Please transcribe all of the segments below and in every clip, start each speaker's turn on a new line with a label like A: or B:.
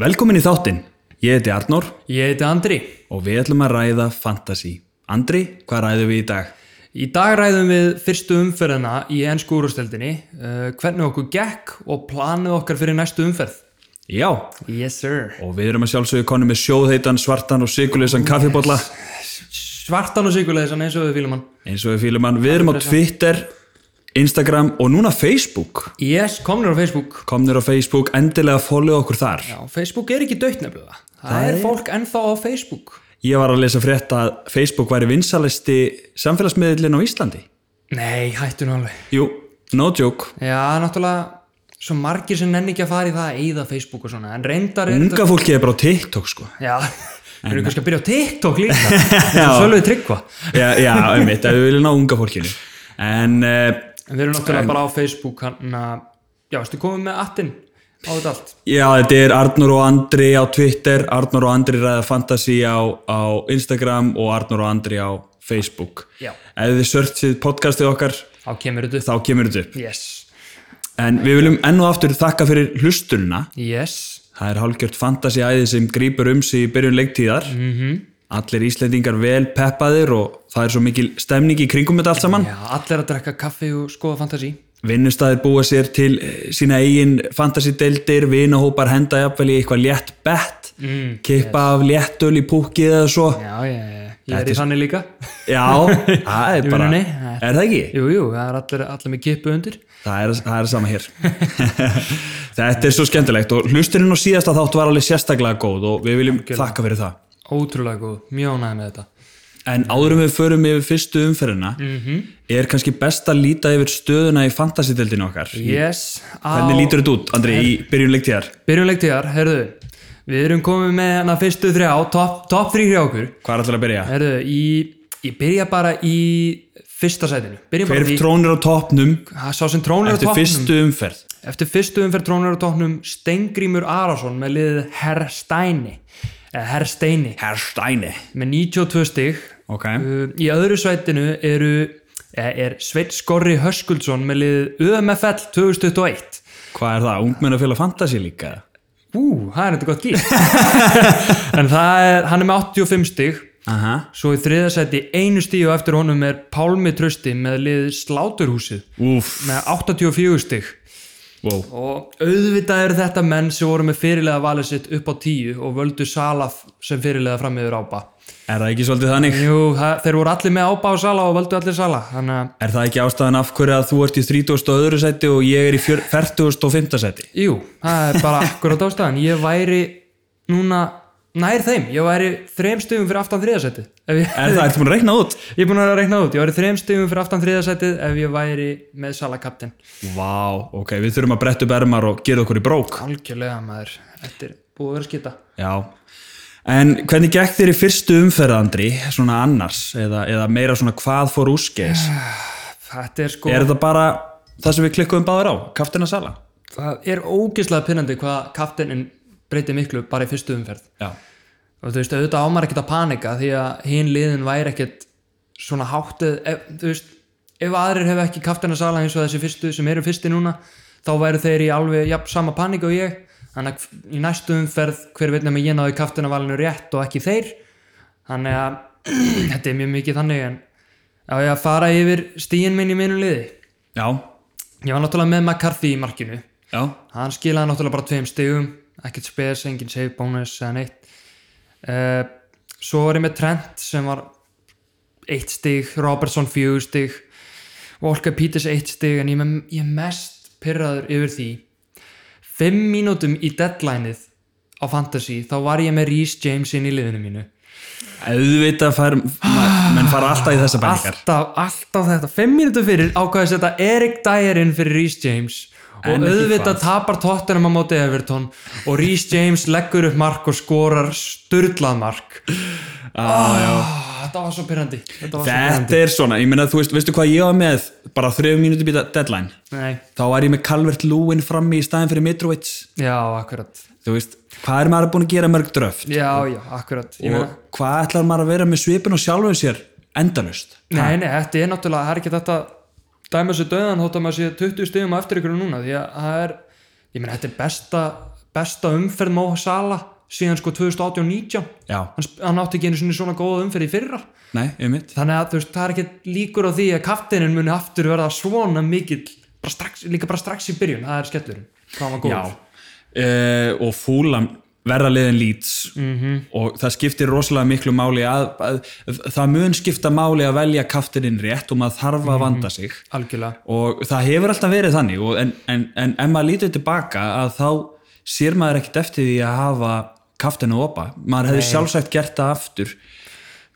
A: Velkomin í þáttinn. Ég heiti Arnór
B: Ég heiti Andri.
A: og við ætlum að ræða fantasy. Andri, hvað ræðum við í dag?
B: Í dag ræðum við fyrstu umferðina í ennsku úrústeldinni, uh, hvernig okkur gekk og planið okkar fyrir næstu umferð.
A: Já,
B: Yes sir.
A: og við erum að sjálfsögja konu með sjóðheitan, svartan og sykuleysan kaffibólla
B: Svartan og sigurleðisan eins og við fýlum hann.
A: eins og við fýlum hann. Við erum á Twitter, Instagram og núna Facebook.
B: Yes, komnir á Facebook.
A: Komnir á Facebook, endilega follow okkur þar.
B: Já, Facebook er ekki dött nefnilega. Það, er fólk ennþá á Facebook.
A: Ég var að lesa frétt að Facebook væri vinsalisti samfélagsmiðlinn á Íslandi.
B: Nei, hættu nú alveg.
A: Jú, no joke.
B: Já, náttúrulega, svo margir sem nenni ekki að fara í það að eyða Facebook og svona, en reyndar er...
A: Unga fólki er bara á TikTok sko.
B: Já, við erum kannski að byrja á TikTok líka. Þetta er svolítið tryggva.
A: Já, já einmitt, ef við viljum ná unga fólkinu. En uh,
B: En við erum náttúrulega bara á Facebook hann að, já, veistu, komum með attinn á þetta allt.
A: já, þetta er Arnur og Andri á Twitter, Arnur og Andri ræða fantasy á, á Instagram og Arnur og Andri á Facebook.
B: Já.
A: Ef þið searchið podcastið okkar,
B: Þá kemur þetta upp.
A: þá kemur þetta upp.
B: Yes.
A: En við viljum enn og aftur þakka fyrir hlustunna.
B: Yes.
A: Það er hálfgjört fantasy æði sem grýpur um sig í byrjun leiktíðar. Mm -hmm. Allir Íslendingar vel peppaðir og það er svo mikil stemning í kringum þetta allt saman.
B: Já, allir að drekka kaffi og skoða fantasi.
A: vinnustæðir búa sér til eh, sína eigin fantasideildir, vinahópar henda jafnvel í eitthvað létt bett mm, kippa af léttul í púkið eða svo
B: Já, já, já. Ég er í þannig líka.
A: já, það er bara
B: Nei, nei,
A: er það ekki?
B: Jú, jú, það er allir, allir með kippu undir.
A: Það er, það er sama hér þetta er svo skemmtilegt og hlusturinn og síðasta þátt var alveg sérstaklega góð og við viljum þakka fyrir það
B: Ótrúlega góð. Mjög ánægð með þetta.
A: En áðurum við förum yfir fyrstu umferðina er kannski best að líta yfir stöðuna í fantasideildinu okkar
B: Yes.
A: Hvernig
B: á-
A: lítur þetta út, Andri, í byrjun leiktíðar?
B: Byrjum leiktíðar, herðu. Við erum komið með hana fyrstu þrjá, topp top þrjú hjá okkur.
A: Hvað er allir að byrja?
B: Herðu, í, ég byrja bara í fyrsta sætinu. Byrjum bara
A: Hver
B: í,
A: trónir á toppnum
B: Það sá sem trónir á
A: eftir
B: toppnum.
A: fyrstu umferð?
B: Eftir fyrstu umferð trónur á tóknum Stengrímur Arason með liðið Hersteini eða Hersteini
A: Herr Steini.
B: með 92 stig
A: Ok.
B: uh, í öðru sveitinu eru eða er Sveit Skorri Höskuldsson með liðið UMFL 2021
A: Hvað er það? Ungmennafélag Fantasí líka?
B: Ú, það er þetta gott líf en það er, hann er með 85 stig
A: Aha.
B: svo í þriða sæti einu stíu eftir honum er Pálmi Trösti með liðið Sláturhúsið
A: Úf.
B: með 84 stig
A: Wow.
B: og auðvitað eru þetta menn sem voru með fyrirlega valið sitt upp á tíu og völdu Sala f- sem fyrirlega fram yfir Ába
A: Er það ekki svolítið þannig?
B: Jú, það, þeir voru allir með Ába og Sala og völdu allir Sala þannig að,
A: Er það ekki ástæðan af hverju að þú ert í 32. seti og ég er í 45. seti?
B: jú, það er bara akkurat ástæðan ég væri núna nær þeim, ég væri þrem stugum fyrir aftan þriðasætið ef ég,
A: Er það, ertu búin að reikna út?
B: ég er búin að reikna það út, ég væri þrem stugum fyrir aftan þriðasætið ef ég væri með Sala kaptinn
A: Vá, ok, við þurfum að bretta upp ermar og gera okkur í brók.
B: algjörlega maður, þetta er búið að vera skita
A: Já. En hvernig gekk þér í fyrstu umferð, Andri, svona annars, eða, eða meira svona hvað fór úskeis?
B: þetta er sko
A: Er þetta bara það sem við klikkuðum báður á, kaftina sala?
B: Það er ógeðslega pinnandi hvað kapteinin breytir miklu bara í fyrstu umferð
A: Já.
B: og þú veist, auðvitað ámar ekkert að panika því að hinn liðin væri ekkert svona háttuð, ef, þú veist ef aðrir hefur ekki kapteina sala eins og þessi fyrstu sem eru fyrsti núna, þá væru þeir í alveg jafn sama panika og ég þannig að í næstu umferð, hver veit nefnir ég náði kapteina valinu rétt og ekki þeir þannig að þetta er mjög mikið þannig en á ég að fara yfir stíin minn í minu liði
A: Já,
B: ég var náttúrulega með McCarthy í markinu
A: já.
B: hann skilaði náttúrulega bara tveim stigum ekkert spes, engin save bonus eða neitt uh, svo var ég með Trent sem var eitt stig, Robertson fjögur stig Walker Peters eitt stig en ég, er með, ég er mest pyrraður yfir því fimm mínútum í deadlineið á Fantasy þá var ég með Rhys James inn í liðinu mínu
A: auðvitað fær, ma- menn fara alltaf í þessa bæningar
B: alltaf, alltaf þetta, fimm mínútum fyrir ákvæðis þetta Erik Dyer inn fyrir Rhys James og
A: En ekki
B: auðvitað tapar tóttunum á móti Everton og Rhys James leggur upp mark og skorar styrlað mark ah, þetta var svo pyrrandi þetta var
A: þetta er svona, ég meina þú veist, veistu hvað ég var með bara þrefum mínúti býta deadline
B: svo nei,
A: þá var ég með Calvert Lúin frammi í staðin fyrir Mitrovic,
B: já, akkurat
A: þú veist hvað er maður búin að gera mörg dröft
B: já, já, akkurat Ég meina-
A: og hvað ætlar maður að vera með svipin og sjálfum sér endalust
B: nei, nei, þetta er náttúrulega, það er ekki þetta dæma sér döðan þótt að maður sé 20 stigum á eftir ykkur núna því að það er, ég meina, þetta er besta besta umferð Mo Salah síðan sko 2018-19
A: já,
B: hann, sp- hann átti ekki einu sinni svona góða umferð í fyrra
A: nei, einmitt
B: þannig að þú veist, það er ekki líkur á því að kaftinin muni aftur verða svona mikill bara strax, líka bara strax í byrjun, það er skellurinn hvað hann var góð
A: já, uh, og fúlam verða liðin lýts og það skiptir rosalega miklu máli að, að, það mun skipta máli að velja kaftininn rétt og maður þarf að vanda sig
B: algjörlega,
A: og það hefur alltaf verið þannig og en, en, en ef maður lítið tilbaka að þá sér maður ekkert eftir því að hafa kaftinu opa, maður hefði sjálfsagt gert það aftur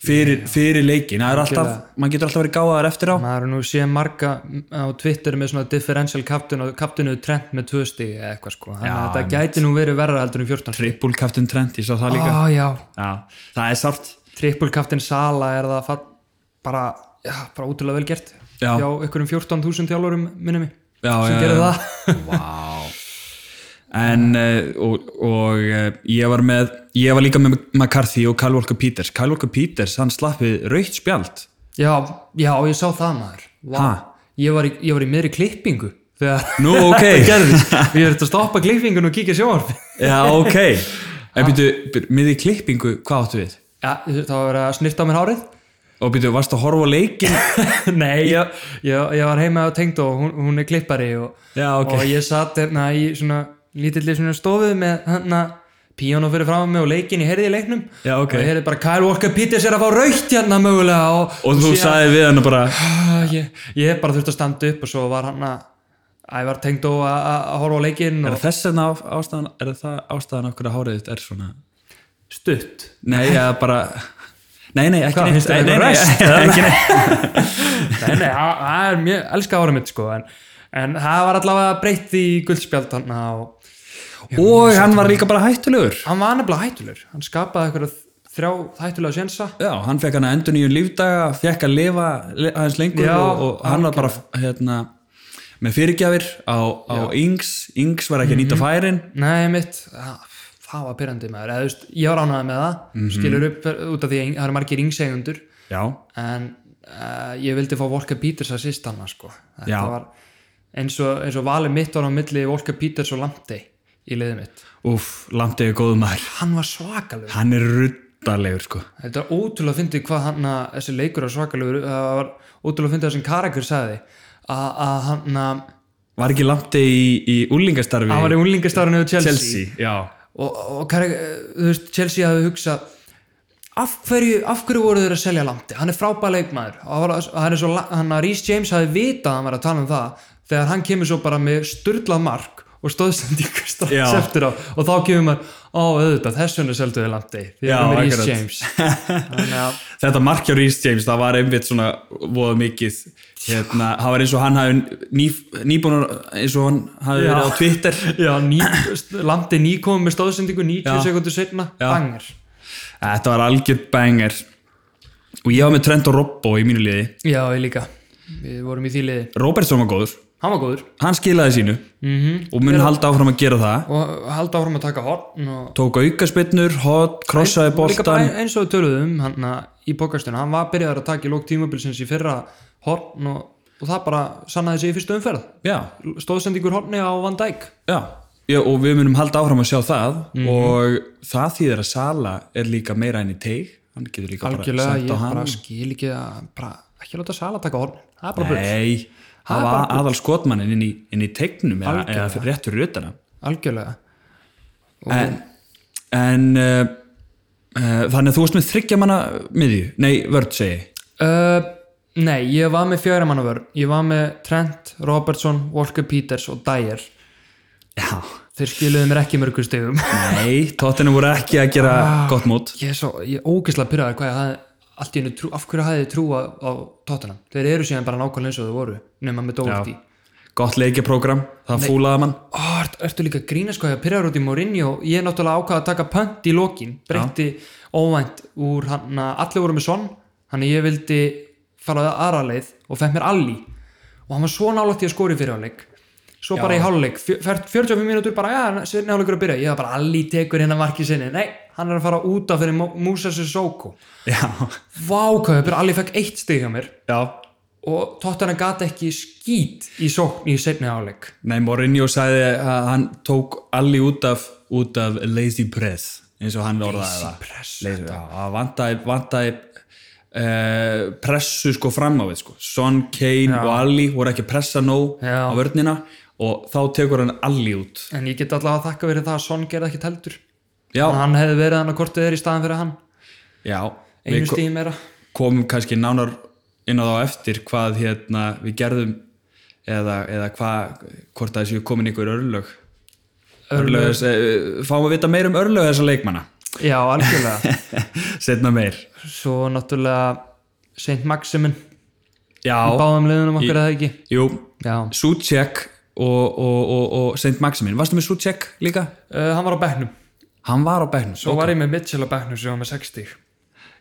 A: fyrir, fyrir leikin, það er alltaf maður getur alltaf verið gáðar eftir á
B: maður er nú séð marga mm, á Twitter með svona differential kaptinu, kaptinu trend með 2 stíg eða eitthvað sko, þannig að þetta gæti nú verið verra heldur en 14 stíg,
A: triple kaftin trend, ég sá það líka
B: á já
A: já, það er sárt
B: trippulkaftin Sala er það fall, bara, já, bara útrúlega vel gert
A: Já.
B: hjá einhverjum 14.000 þjálfurum minnum mig,
A: já,
B: sem
A: já,
B: gerir
A: já.
B: það
A: Vá En uh, og, og uh, ég var með ég var líka með McCarthy og Kyle Walker Peters Kyle Walker Peters, hann slappið raukt spjald
B: já, já, ég sá það maður
A: Ha?
B: ég var, í, ég var í meðri klippingu þegar
A: Nú, ok
B: gerðist ég þurfti að stoppa klippingun og kíkja sjónvarpi
A: Já, ok En býtu, býtu, með í klippingu, hvað áttu við?
B: já, það var að snirta á mér hárið
A: Og býtu, varstu að horfa á leikin?
B: nei, ég, ég, ég var heima á tengd og hún, hún er klippari og,
A: Já, ok.
B: og ég satt hérna í svona lítilli svona stofu með hérna píónu fyrir fram mig og leikin ég heyrði í leiknum
A: Já, ok.
B: og ég heyrði bara Kyle Walker Peters er að fá raukt hérna mögulega og,
A: Og þú
B: síðan-
A: sagði við hann bara
B: Ah, ég, ég bara þurfti að standa upp og svo var hann að ævar tengd og að að horfa á leikin
A: Er
B: og
A: þess vegna á- ástæðan, er það ástæðan okkur að hárið þitt er svona?
B: stutt
A: Nei, ég bara Nei, nei, ekki neitt
B: Hvað, finnst
A: Nei,
B: þér
A: nei,
B: eitthvað rest, eða?
A: nei, ekki neitt
B: Nei, nei, það það er mjög, elska ára mitt sko en, en það var allavega breytt í guldspjald hann og
A: Og hann var líka bara hættulegur
B: hann var nefnilega hættulegur hann skapaði eitthvað þrjá hættulega sjensa
A: Já, hann fekk hann að endur nýjum lífdaga fekk að lifa le- aðeins lengur
B: Já,
A: og, og hann var bara hérna, með fyrirgjafir á, á Ings Ings var ekki að
B: Mhm.
A: nýta færin
B: Nei, mitt, það, það var pyrrandi maður eða þú veist, ég var ánægði með það skilur upp út af því að það eru margir yngsegundur
A: Já,
B: en uh, ég vildi fá Volker Peters að sýst hann sko. þetta
A: Já.
B: var eins og, eins og valið mitt var á milli Volker Peters og Lamptey í liðið mitt
A: úff, langt eða góðum maður
B: hann var svakalug
A: Hann er ruddalegur sko
B: Þetta er ótrúlega að fyndi hvað hann að þessi leikur er svakalegur, Eh, það var ótrúlega að fyndi það sem Karakur sagði að, að hann að
A: Var ekki langt í, í úlingastarfi
B: hann var í unlingastárinu við Chelsea,
A: Chelsea, já
B: og, og Karakur, þú veist, Chelsea hafði hugsað af hverju, af hverju voru þeir að selja Lamti, hann er frábæð leikmaður og hann var- hann er svo, la- hann að Rhys James hafði vitað að hann var að tala um það þegar hann kemur svo bara með styrlað mark og stóðsendingu strax
A: Já.
B: eftir á og þá kemur maður, ó auðvitað þess vegna selduðu Lamti, því
A: Já,
B: að hann er Rhys
A: akkurat.
B: James þannig að
A: Þetta markjá Rhys James, það var einmitt svona voða mikið hérna, það var eins og hann hafi ný, nýbúnar eins og hann hafi
B: Já.
A: verið á Twitter
B: Já, ný, landi nýkomið með stóðsendingu 90
A: Já.
B: sekundur setna, bangar
A: Þetta var algjör banger og ég var með Trent og Robbo í mínu liði
B: Já, ég líka, við vorum í því liði
A: Robertson var góður,
B: Hann var góður
A: hann skilaði sínu
B: Mhm.
A: -hmm. og mun halda áfram að gera það
B: og halda áfram að taka horn og
A: tók aukaspinnur, hot, krossaði
B: líka bara
A: boltan
B: ein- eins og við töluðum hann að- í bókastunum, hann var byrjaður að taka í lók tímabilsins í fyrra horn og, og það bara sannaði sig í fyrstu umferð
A: Já,
B: stóðsendingur horni á Van Dijk
A: Já, já og við munum halda áfram að sjá það
B: Mhm.
A: og það þýðir að Sala er líka meira enn í teig hann getur líka
B: algjörlega,
A: bara sett
B: ég
A: á hann
B: bara skil ekki að bara, ekki láta Sala taka horn það er bara bull.
A: Nei, það var aðal skotmannin inn í, inn í teignum eða,
B: Algjörlega.
A: eða rétt fyrir rötana
B: algjörlega
A: en, en uh, uh, þannig að þú varst með þryggja manna miðju, nei, vörd segi ég.
B: Uh, nei, ég var með fjögra manna vörn Ég var með Trent, Robertson, Walker Peters og Dyer
A: Já,
B: Þeir skiluðu mér ekki mörgum stegum
A: nei, tóttinu voru ekki að gera gott mót
B: Ég er svo, ég er ógeðslega pyrraður hvað ég hafði Allt í hennu trú, af hverju hafði ég trú á, á tóttunum Þeir eru síðan bara nákvæmlega eins og þau voru Nefna með Doherty
A: gott leikjaprógram, það fúlaði mann
B: Ó, ert, Ertu líka að grínast hvað ég að pyrraður út í Mourinho Ég er náttúrulega ákvað að taka pönt í lokin Breytti óvænt úr hann að Allir voru með son Þannig ég vildi fara aðra leið og fekk mér alli og hann var svo nálægt í að skori fyrir hálfleik svo bara í hálfleik, fjö- fer- 45 mínútur bara, já, sinni hálfleikur að byrja ég var bara allir tekur hérna markið sinni nei, hann er að fara út af fyrir Musa Sissoko
A: Já,
B: vákaupur, allir fekk eitt stig hjá mér
A: já
B: og tóttana gat ekki skít í sókn í sinni hálfleik
A: Nei, Mourinho sagði að hann tók allir út af, út af lazy press eins og hann orðaði það
B: press,
A: lazy, já, það vantaði, vantaði uh, pressu sko fram á við sko. Son, Kane og Alli voru ekki að pressa nóg
B: Já.
A: á vörnina og þá tekur hann Alli út
B: en ég get allavega að þakka verið það að Son gerði ekki heldur
A: já,
B: en hann hefði verið hann að kortið er í staðan fyrir hann
A: já
B: einu
A: við ko-
B: stíð meira
A: komum kannski nánar inn á þá eftir hvað hérna við gerðum eða, eða hvað, hvort að þessu komin ykkur örlög örlög, þess- eh, fáum við vita meir um örlög þessa leikmanna
B: já, algjörlega
A: setna meir
B: svo náttúrulega Saint Maximin
A: já,
B: báðum liðunum okkar eða ekki
A: jú,
B: já,
A: Suchek og, og, og, og Saint Maximin, varstu með Suchek líka?
B: uh, hann var á bekknum
A: hann var á bekknum
B: svo var ég með Mitchell á bekknum sem var með 60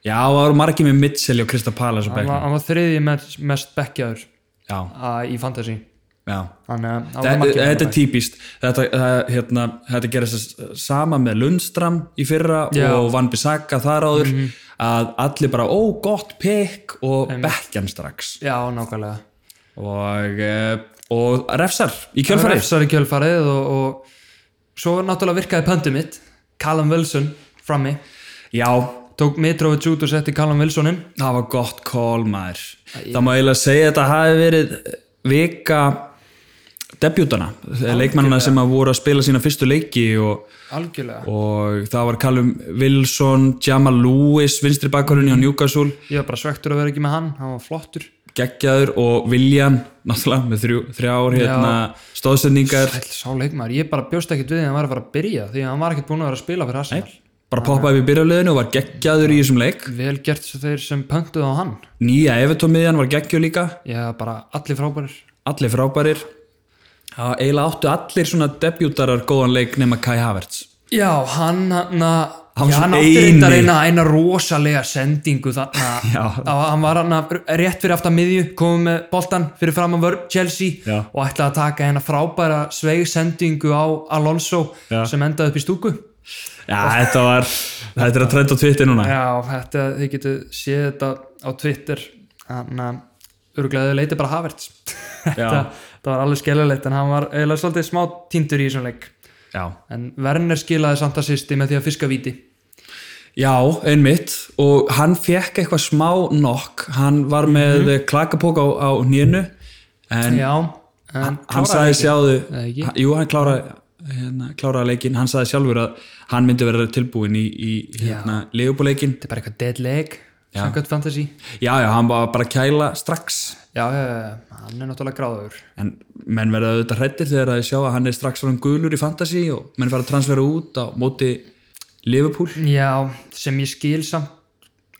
A: já, það voru margir með Mitchell og Krista Palas á
B: hann var,
A: bekknum
B: hann var þriði mest, mest bekkjaður
A: já,
B: uh, í fantasy
A: já
B: þannig að
A: Þetta,
B: hann var
A: þetta er típist þetta, það- hérna, þetta gerist s- sama með Lundstram í fyrra
B: Já.
A: og Van Bissaka þar áður að allir bara, ó, gott pikk og bekkjan strax
B: já, nákvæmlega
A: og, eh, og refsar í kjölfarið
B: refsar í kjölfarið og, og svo náttúrulega virkaði pöndið mitt Callum Wilson frammi
A: já,
B: tók Mitrovic út og setti Callum Wilsonin
A: Það var gott call maður Það má eiginlega segja að þetta hafi verið vika debutana, leikmannana sem að voru að spila sína fyrstu leiki og,
B: algjörlega
A: og það var Callum Wilson, Jamal Lewis vinstri bakkurinn hjá Newcastle
B: ég var bara svektur að vera ekki með hann, hann var flottur
A: geggjaður og William náttúrulega með þrjú, þrjár hérna, stóðsendingar
B: Sæll, sá leikmaður, ég bara bjóst ekkert við því að hann var að fara að byrja því að hann var ekkert búin að vera að spila fyrir Arsenal
A: bara poppaði við byrjarleginu og var geggjaður í þessum leik
B: vel gert svo þeir sem pöntuð á hann
A: nýja Evertómiðjan var geggjur líka
B: ég hef bara allir frábærir
A: allir frábærir Það eiginlega áttu allir svona debutarar góðan leik nema Kai Havertz
B: já, hann
A: Hann
B: hann, já,
A: var
B: hann
A: svona
B: átti reyndar
A: eini.
B: eina, eina rosalega sendingu þannig
A: Já.
B: að hann var hann rétt fyrir aftan miðju komið með boltan fyrir fram að vörn Chelsea
A: Já.
B: og ætlaði að taka hennar frábæra sveig sendingu á Alonso
A: Já.
B: sem endaði upp í stúku
A: Já, þetta var, þetta er að trenda á Twitter núna.
B: Já, þetta, þið getur séð þetta á Twitter þannig að örgulega þau leiti bara Havertz þetta það var alveg skellalegt en hann var eiginlega svolítið smá tindur í þessum leik
A: Já,
B: en Werner skilaði samt að sýsti með því að fiska víti
A: já einmitt og hann fekk eitthvað smá nokk, hann var með mm klakapók á, á nýjunu en
B: Já, en
A: hann
B: kláraði
A: sagði
B: leikinn.
A: sjáðu,
B: Eða ekki?
A: hann- jú hann kláraði, hérna, kláraði leikinn, hann sagði sjálfur að hann myndi vera tilbúin í, í hérna, leifubúleikinn.
B: Þetta er bara eitthvað dead leg samkvæmt fantasy
A: Já, já, hann var bara að kæla strax
B: Já, já, já, hann er náttúrulega gráður
A: en menn verða auðvitað hrættir þegar að sjá að hann er strax svona gulur í fantasy og menn fara að transfera út á móti Liverpool.
B: Já, sem ég skil samt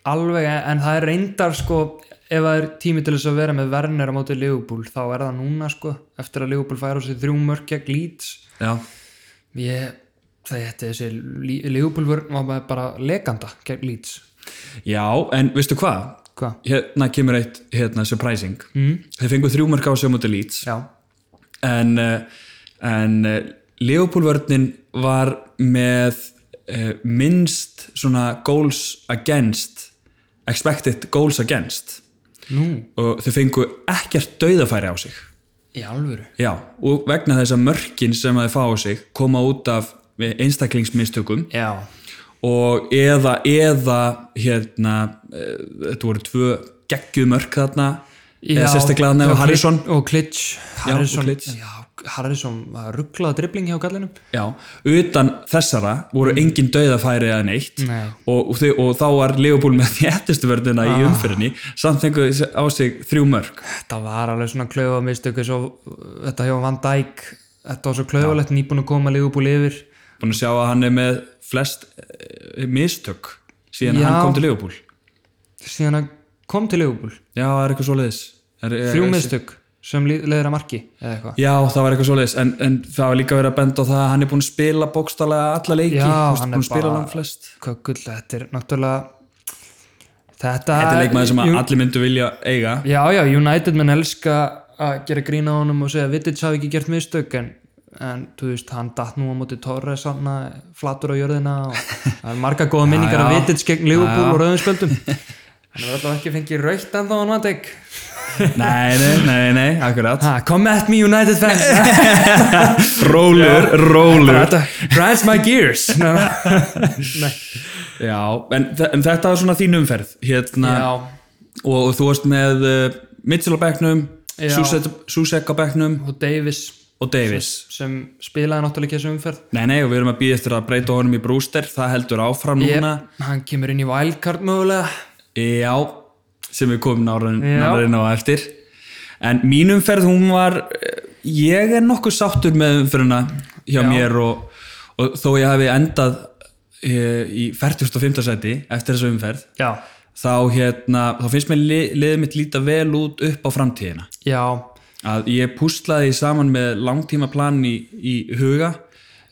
B: alveg, en en það er reyndar sko, ef það er tími til þess að vera með Werner á móti Leopold, þá er það núna sko, eftir að Leopold færa á sig þrjú mörk gegn Leeds,
A: Já,
B: ég það er þessi Leopold var bara- bara leganda gegn Leeds,
A: já en veistu hvað?
B: hvað?
A: hérna kemur eitt hérna, surprising mm. þeir fengu þrjú mörg á sig á móti Leeds
B: Já,
A: en, eh, en Leopoldvörnin var með uh, minnst svona goals against expected goals against
B: nú,
A: og þeir fengu ekkert dauðafæri á sig
B: í alvöru
A: já, og vegna þess að mörkin sem þeir fá á sig koma út af eh, einstaklingsmistökum
B: Já,
A: og eða, eða hérna, eh, þetta voru tvö geggjumörk þarna eða sérstaklega hann
B: og
A: eða
B: Klitsch-
A: Harrison
B: og Klitsch,
A: Já, og
B: Harrison,
A: Klitsch.
B: já, Harrison var rugglað dribbling hjá gallinum
A: já, utan þessara voru engin dauðafæri eða neitt
B: Mm. Nei. Ah.
A: og, og, þau, og þá var Leopold með þjættustu verðina í umfyrinni samt fengu þau á sig þrjú mörk
B: Þetta var alveg svona klaufa mistöku svo, uh, þetta hjá Van Dijk þetta var svo klaufalegt, nýbúin að koma Ligubúl yfir
A: búin að sjá að hann er með flest eh, mistök síðan
B: Já.
A: hann kom til Leopold
B: síðan að kom til Ligubúl
A: já, það er eitthvað svoleiðis Er- er-
B: þrjú mistök sem li- leiðir að marki eða eitthvað
A: Já, það var eitthvað svoleiðis, en, en það var líka verið að benda á það að hann er búin að spila bókstálega alla leiki,
B: Já,
A: Þú veist,
B: hann er
A: búin að spila
B: bara-
A: langflest.
B: Kökull, þetta er náttúrulega þetta,
A: Þetta er leikmaður sem að
B: Jú-
A: allir myndu vilja eiga
B: Já, já, United menn elska að gera grína á honum og segja Vittits hafi ekki gert mistök en, en þú veist, hann datt nú á móti Torres hann flatur á jörðina og það er marga góða minningar
A: já.
B: af Vittits gegn Ligubúl og rauðinspöldum hann er alltaf ekki fengið raukt en þá hann vant ekki
A: nei, nei, nei, nei, akkurat
B: Ha, come at me United fans
A: rólur, rólur
B: Þetta grinds my gears Nei, nei.
A: já, en, þe- en þetta var svona þín umferð hérna,
B: Já,
A: og, og þú varst með uh, Mitchell á bekknum
B: Já.
A: Susek- Susek á bekknum
B: og Davis
A: og Davis
B: sem spilaði náttúrulega ekki þessu umferð
A: nei, nei, og við erum að býja eftir að breyta honum í Brewster það heldur áfram
B: Jep,
A: núna
B: hann kemur inn í wildcard mögulega
A: Já, sem við komum
B: Já.
A: náraðin á eftir En mín umferð, hún var eh, ég er nokkuð sáttur með umferðina hjá mér og, og þó ég hafi endað e, í 45. seti eftir þessu umferð
B: Já,
A: þá, hérna, þá finnst mér li, liðið mitt líta vel út upp á framtíðina
B: já,
A: að ég púslaði því saman með langtímaplan í, í huga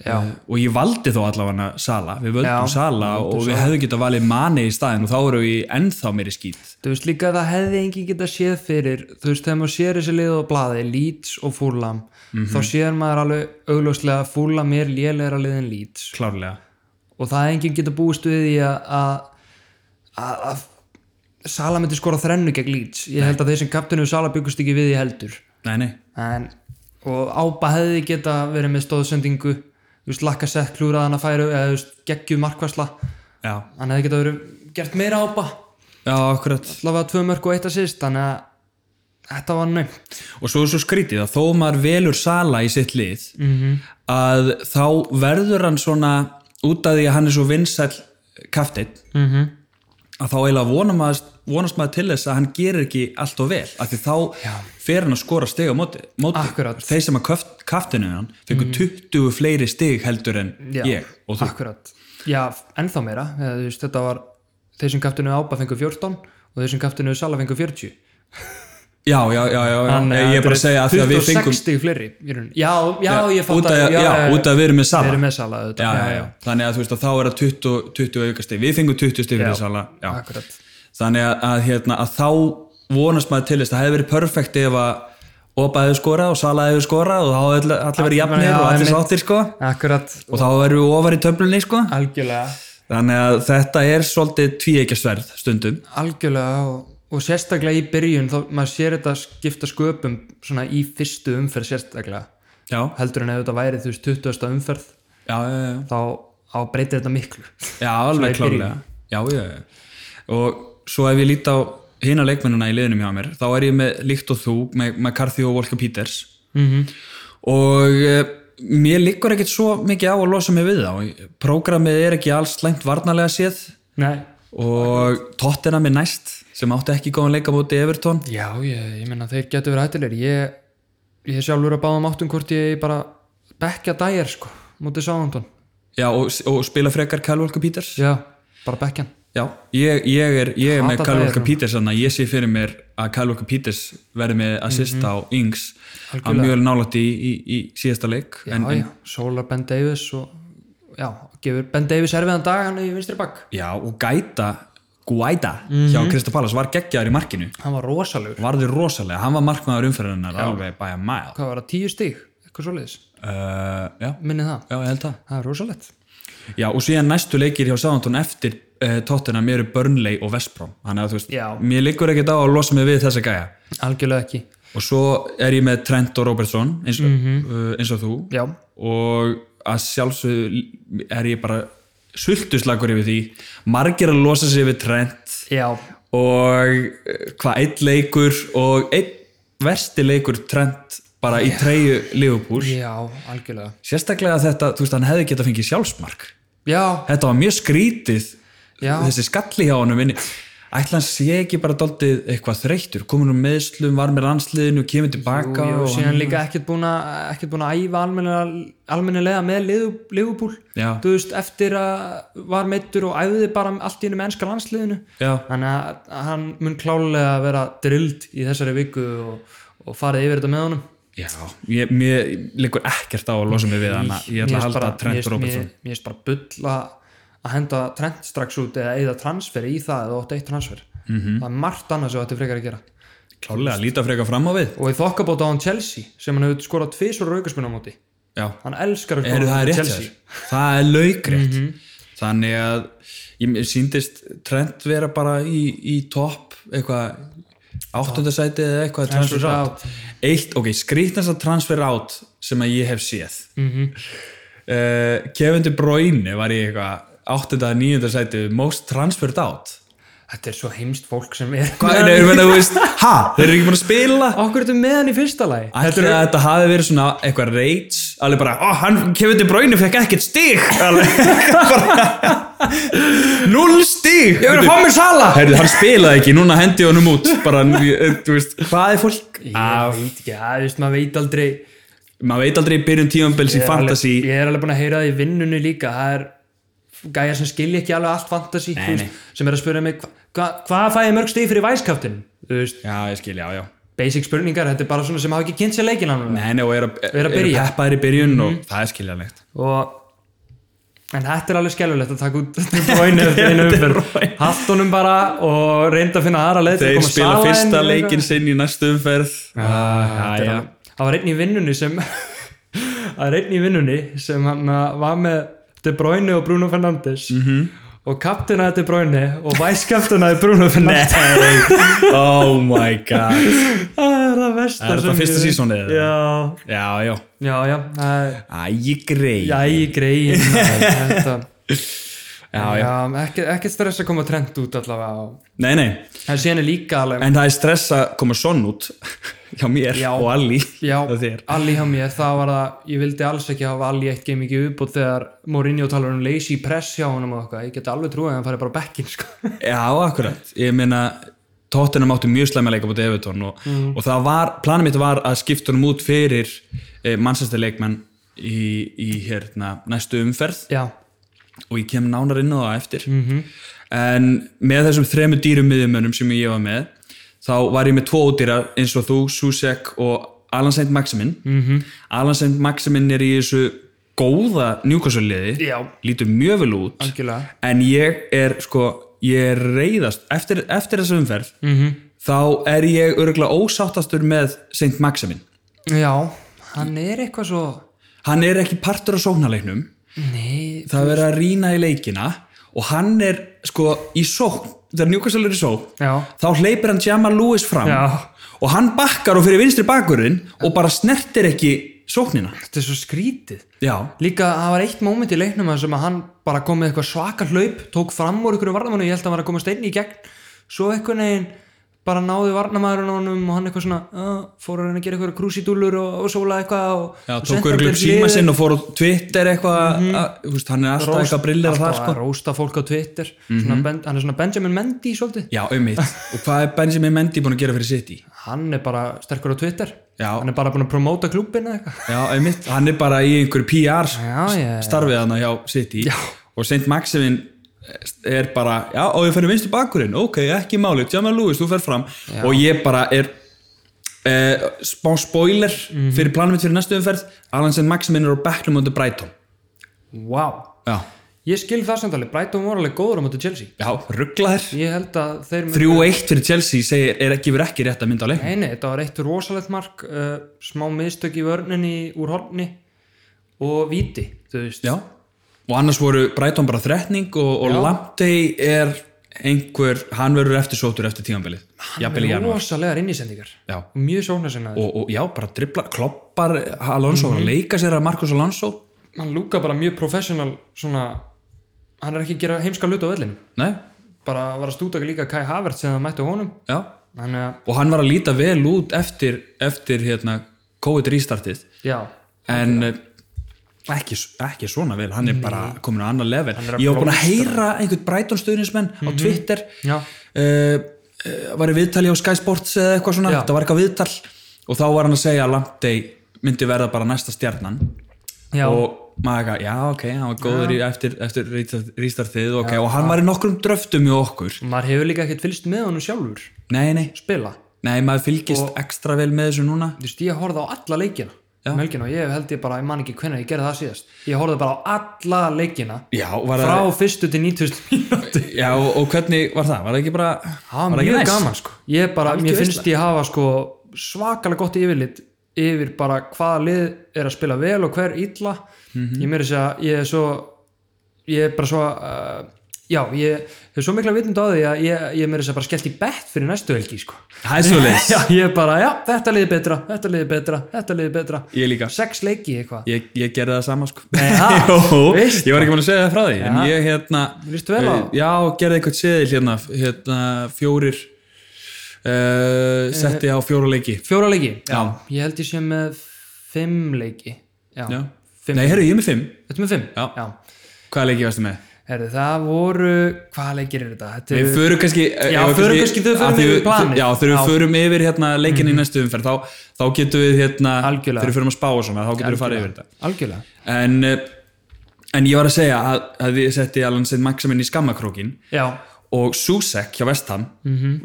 A: Já. og ég valdi þó allavega Sala, við völdum
B: Já.
A: Sala og við hefðum getað valið Mani í staðin og þá eru við ennþá meiri skýt
B: þú veist líka að það hefði engin geta séð fyrir þú veist þegar maður sér þessi lið á blaði Leeds og Fulham þá sér maður alveg augljóslega að Fulham er lélegra lið en Leeds
A: klárlega
B: og það hefði engin geta búist við því að að, að, að Sala myndi skora þrennu gegn Leeds ég held að þeir sem kaptinu Sala byggust ekki við því heldur
A: nei, nei.
B: en, og Ába hefði geta verið með stóðsendingu þú veist lakka sett klúrað hann að færu eða þú veist geggjum markværsla
A: Já.
B: hann hefði geta verið gert meira Ába
A: Já, akkurat
B: allavega tvö mörg og eitt að síst þannig að þetta var nöimt
A: og svo er svo skrítið að þó maður velur Sala í sitt lið -hmm. að þá verður hann svona út af því að hann er svo vinsæll kaftinn
B: -hmm.
A: að þá eiginlega vonar maður, vonast maður til þess að hann gerir ekki allt og vel af því þá fer hann að skora stig á móti, móti.
B: Akkúrat.
A: þeir sem að köft, kaftinu hann fengur 20 fleiri stig heldur en
B: Já,
A: ég og þú
B: akkurat Já, ennþá meira, eða, þú veist, þetta var þeir sem kaftinu Ába fengu 14 og þeir sem kaftinu Sala fengu 40
A: já, já, já, já, já. ég er bara að segja að því að við fengum
B: 26 fleiri í rauninni. Já, já, ég
A: út
B: fatt
A: af, já, út af við erum með Sala
B: Þeir eru með Sala
A: já,
B: auðvitað
A: já, já. þannig að þú veist að þá er það 20, 20 auka stig, við fengum 20 stig fyrir
B: Já.
A: sala, já.
B: Akkurat
A: þannig að, að, hérna, að þá vonast maður til þess, það hefði verið perfekt ef að Opa hefði skorað og Sala hefði skorað og þá hefði allir- allir verið jafnir
B: Já,
A: og allir
B: einmitt.
A: sáttir sko
B: Akkurat,
A: og þá verðum við ofar í töflunni sko
B: algjörlega
A: þannig að þetta er svolítið tvíeikjasverð stundum
B: Algjörlega og, og sérstaklega í byrjun þá maður sér þetta skipta sköpum svona í fyrstu umferð sérstaklega
A: já,
B: heldur en ef þetta væri þú veist 20. umferð
A: já, já, já.
B: þá á breytir þetta miklu
A: Já, alveg
B: Svona í
A: klárlega já, já, já. Og svo ef ég lít á hina leikmennuna í liðinum hjá mér þá er ég með líkt og þú, með McCarthy og Walker Peters -hmm. og eh, mér liggur ekkert svo mikið á að losa mig við þá prógramið er ekki alls slæmt varnarlega séð
B: Nei
A: og tóttina mér næst sem átti ekki góðan leika múti Evertón
B: Já, ég, ég menna þeir getur verið hættilegir ég, ég sjálfur að báðum áttum hvort ég bara bekkja dæjar sko mútið sáðandun
A: já, og, og spila frekar Kyle Walker Peters
B: Já, bara bekkjan
A: Já, ég, ég er, ég er með
B: Hata
A: Kyle
B: það
A: Walker
B: hérna.
A: Peters þannig að ég sé fyrir mér að Kyle Walker Peters verði með
B: Mhm.
A: assist á Ings hann var mjög nálægt í, í, í síðasta leik
B: Já,
A: en,
B: já, Solar Ben Davis og já, gefur Ben Davis erfiðan dag hann í vinstri bakk
A: já, og gæta Guaita
B: Mhm.
A: hjá Krista Pallas var geggjaður í markinu
B: Hann var rosalegur
A: varði rosalega, hann var markmaður umferðinnar alveg bæja mæl
B: Hvað var það, tíu stig? Eitthvað svoleiðis
A: uh, já,
B: Minni það
A: já, ég held það
B: Það er rosalegt
A: Já, og síðan næstu leikir hjá Sáðantón eftir uh, tóttina mér eru Burnley og Vestbrom þannig að þú veist,
B: Já.
A: mér liggur ekkert á að losa mig við þessa gæja
B: Algjörlega ekki
A: og svo er ég með Trent og Robertson eins,
B: Mhm.
A: uh, eins og þú
B: Já,
A: og að sjálfsögðu er ég bara sultuslagur yfir því margir að losa sig við trend
B: já,
A: og eh, hvað, einn leikur og einn versti leikur trend bara í treyju Liverpool
B: já, algjörlega
A: sérstaklega þetta, þú veist, hann hefði getað fengið sjálfsmark
B: Já,
A: þetta var mjög skrítið
B: Já.
A: þessi skalli hjá honum inni ætla hann sé ekki bara daldið eitthvað þreyttur komin um meðslum, var með landsliðinu kemur tilbaka
B: og
A: og
B: síðan líka ekkert búin að ekkert búin að æfa almennilega, almennilega með Liverpool- Liverpool
A: Já.
B: þú veist, eftir að var meittur og æfði bara allt í einu mennska landsliðinu
A: Já.
B: þannig að hann mun klálega vera drilld í þessari viku og, og farið yfir þetta með honum
A: Já, ég, mér liggur ekkert á að losa mig við hana Ég ætla að
B: Mér finnst
A: halda
B: bara- mér
A: Trent
B: finnst-
A: Robertson
B: mér- Mér finnst bara bull að að henda Trent strax út eða eða transfer í það eða ótt eitt transfer
A: Mhm.
B: -hmm. það er margt annað sem þetta er frekar að gera
A: Klálega, líta frekar fram á við
B: og í þokkabóta á hann Chelsea sem hann hefur skorað tvisur raukaspunna á móti
A: Já,
B: hann elskar að
A: eru það
B: skora á móti
A: rétt hjá þér? Það er laukrétt
B: Mhm.
A: Þannig að ég mér sýndist Trent vera bara í, í topp eitthvað áttunda sæti eða eitthvað
B: Transfer
A: transfer out eitt, ok, skrýtnasta transfer out sem að ég hef séð mm
B: Mhm.
A: Kevin De Bruyne var í eitthvað áttunda, níunda sæti most transferred out
B: Þetta er svo heimst fólk sem er
A: hvað er það, þú veist, ha, þeir eru ekki búin að spila
B: Okkur þetta með hann í fyrsta lagi
A: Ætli að þetta hafi verið svona eitthvað rage alveg bara, ó, hann Kevin De Bruyne fekk ekkert stig alveg bara, null stig
B: Ég verið að fá mér sala
A: Herðu, hann spilaði ekki, núna hendi ég honum út bara, þú veist, hvað er fólk
B: Ég veit ekki, það, þú veist, maður veit aldrei
A: maður veit aldrei í byrjun tímanbils í
B: Ég er
A: fantasy
B: alveg- Ég er alveg búin að heyra það í vinnunni líka Það er gæja sem skilja ekki alveg allt fantasy
A: Nei,
B: þú veist, Sem er að spura mig hva- hva- Hvað fæ ég mörg stig fyrir væskaftin? Þú veist,
A: já, ég skil, já, já
B: basic spurningar Þetta er bara svona sem hafa ekki kynnt sér leikinn hann
A: Nei, nei, og er að, Mhm.
B: Er að byrja.
A: peppaðir í byrjun og það er skiljanlegt
B: og en þetta er alveg skelvilegt að taka út De Bruyne eftir einu umferð haft honum bara og reynda að finna aðra leið til að
A: þeir
B: koma
A: spila
B: Sala inn
A: fyrsta
B: og
A: leikin sinn í næstu umferð ah,
B: eitthvað.
A: já,
B: það var einn í vinnunni sem það var einn í vinnunni sem hann að var með De Bruyne og Bruno Fernandes -hmm.
A: Mhm.
B: og kaptinaði De Bruyne og væskaptinaði Bruno Fernandes
A: já oh my god
B: það er það versta
A: Er þetta
B: sem ég
A: fyrsta
B: veit.
A: seasonið, eða?
B: já,
A: já, já,
B: já, já það er-
A: æ, grei
B: Jæ, greið þetta
A: já, já.
B: ekki, ekki stress að koma trend út allavega á
A: Nei, nei,
B: En síðan er líka alveg
A: en það er stress að koma sonn út hjá mér
B: Já.
A: og Alli
B: Já,
A: og þér.
B: Alli hjá mér, það var það ég vildi alls ekki hafa Alli eitt game ekki upp og þegar Mourinho talar um lazy press hjá honum og eitthvað, ég geti alveg trúið að hann fari bara á bekkin sko.
A: Já, akkurat. Ég meina, Tottenham áttu mjög slæma leika bútið Evertón og, og það var, planið mitt var að skipta honum út fyrir eh, mannsæsta leikmann í, í hérna, næstu umferð
B: Já,
A: og ég kem nánar inn á það eftir
B: Mhm.
A: en með þessum þremu dýrum miðjumönnum sem ég var með þá var ég með tvo ódýra eins og þú, Susek og Alan Saint Maximin
B: Mhm.
A: -hmm. Alan Saint Maximin er í þessu góða njúkasöliði
B: Já.
A: lítur mjög vel út
B: algjörlega
A: en ég er sko ég er reyðast, eftir, eftir þessu umferð
B: Mhm.
A: -hmm. þá er ég örgulega ósáttastur með Saint Maximin
B: Já, hann er eitthvað svo
A: hann er ekki partur á sóknarleiknum
B: Nei,
A: það verður að rýna í leikina og hann er sko í sókn þegar Newcastle er í sókn
B: já,
A: þá hleypir hann Jamal Lewis fram
B: Já.
A: og hann bakkar og fyrir vinstri bakkurinn og bara snertir ekki sóknina
B: þetta er svo skrítið
A: já,
B: Líka, það var eitt móment í leiknum þar sem að hann bara kom með eitthvað svaka hlaup tók fram úr ykkur varnamannu, ég held að hann var að komast einn í gegn svo eitthvað neginn bara náði varnamæðurinn honum og hann eitthvað svona uh, fór hann að gera eitthvað krúsidúlur og, og sóla eitthvað og,
A: já
B: og
A: tók örgulega síma sinn og fór á Twitter eitthvað mm -hmm. hann er alltaf eitthvað brillir að það sko Mhm.
B: Rósta fólk á Twitter svona, ben, hann er svona Benjamin Mendy svolítið
A: já, auðvitað, og hvað er Benjamin Mendy búin að gera fyrir City?
B: hann er bara sterkur á Twitter
A: Já.
B: hann er bara búin að promóta klúbin eða eitthvað
A: já, auðvitað, hann er bara í einhverju sko. PR
B: já, ég,
A: Eh, starfið hann hjá City já. og Saint Maximin eh, er bara já, og ég fyrir vinstu bakurinn, ok, ekki máli Jamal Lewis, þú fer fram og ég bara er eh, spá spoiler fyrir planum mitt fyrir næstu umferð Alan Saint Maximin er á Becklum undir Brighton
B: wow.
A: já,
B: ég skil það samtali, Brighton var alveg góður á móti Chelsea
A: já rugglaðir
B: ég held að þeir munu-
A: 3-1 fyrir Chelsea segir, er ekki verið ekki rétt að mynda á leiknum
B: Nei, nei, þetta var eitt rosalegt mark uh, smá miðstök í vörninni úr horni og viti, þú veist
A: já, og annars voru Brighton bara þretning og, og Lamptey er einhver, hann verður eftir sótur eftir tímanbilið, jafnvel í janúar
B: rosalegar innísendingar
A: já
B: og mjög sóknarsinnaður
A: og, og já, bara dribbla, kloppar Alonso,
B: Mhm.
A: mm leika sér að Marcos Alonso
B: hann lúka bara mjög professional svona, hann er ekki að gera heimska hlut á vellinu
A: nei,
B: bara var að stúta líka Kai Havertz sem það mætti á honum
A: já
B: þannig að,
A: og hann var að líta vel út eftir, eftir hérna, COVID restartið
B: já, Mhm.
A: en eh, ekki, ekki svona vel, hann er bara komin á annar level,
B: er að Mhm.
A: ég var búin að heyra einhvern Brighton stuðnismenn á Twitter uh,
B: já,
A: uh, var í viðtali á Sky Sports eða eitthvað svona,
B: Já.
A: þetta var eitthvað viðtal og þá var hann að segja að Lamptey myndi verða bara næsta stjarnan
B: já
A: og maður eitthvað, já ok, hann var góður í, eftir, eftir rístartið ok, og hann var í nokkrum dröftum í okkur
B: maður hefur líka ekkert fylgst með honum sjálfur
A: nei, nei,
B: spila,
A: nei, maður fylgist ekstra vel með þessu núna
B: þú veist, ég horfði á alla leikina um helgina og ég held ég bara, ég man ekki hvenær ég gerði það síðast ég horfði bara á alla leikina
A: já, var
B: frá
A: það,
B: fyrstu til 9000 mínúti
A: já og, og hvernig var það, var það ekki bara
B: það var
A: það
B: mjög gaman sko ég bara,
A: Algjör
B: mér finnst ég hafa sko svakalega gott yfirlit yfir bara hvaða lið er að spila
A: Mhm.
B: vel og hver illa ég meira þess að segja, ég er svo ég er bara svo uh, já, ég hef svo mikla vitund á því að ég, ég er meira þess að bara skellt í bett fyrir næstu helgi sko.
A: Það er svoleiðis.
B: já, ég er bara, já, þetta liði betra, þetta liði betra þetta liði betra,
A: Ég líka.
B: sex leiki eitthvað
A: Ég, ég gerði það sama sko
B: Nei, ha?
A: Jó,
B: Veist
A: Ég var ekki búin að segja það frá því En
B: Ja.
A: ég hérna
B: Líst vel á.
A: eh, Já, gerði eitthvað seðil hérna, hérna Fjórir uh,
B: Eh,
A: Setti á fjóra leiki
B: fjóra leiki, já.
A: Já.
B: ég held ég sé með fimm leiki já,
A: Já.
B: Fimm.
A: Nei, herru, ég er með fimm
B: þetta með fimm
A: Já.
B: já.
A: Hvaða leiki varstu með?
B: Herðu, það voru, hvaða leikir er þetta? þetta
A: Við
B: eru-
A: förum kannski eh,
B: Já,
A: ef við
B: förum kannski- þau förum
A: að því
B: yfir
A: við-
B: planið.
A: Já, þegar
B: Já. Mhm.
A: við förum yfir hérna leikin í næstu umferð þá, þá getum við hérna
B: Algjörlega.
A: Þegar við förum að spá og svona þá getum við farið yfir þetta
B: algjörlega
A: en, eh, en ég var að segja að, að ég setti Alan St. Maximin í skammakrókin
B: já,
A: og Susek hjá Vestham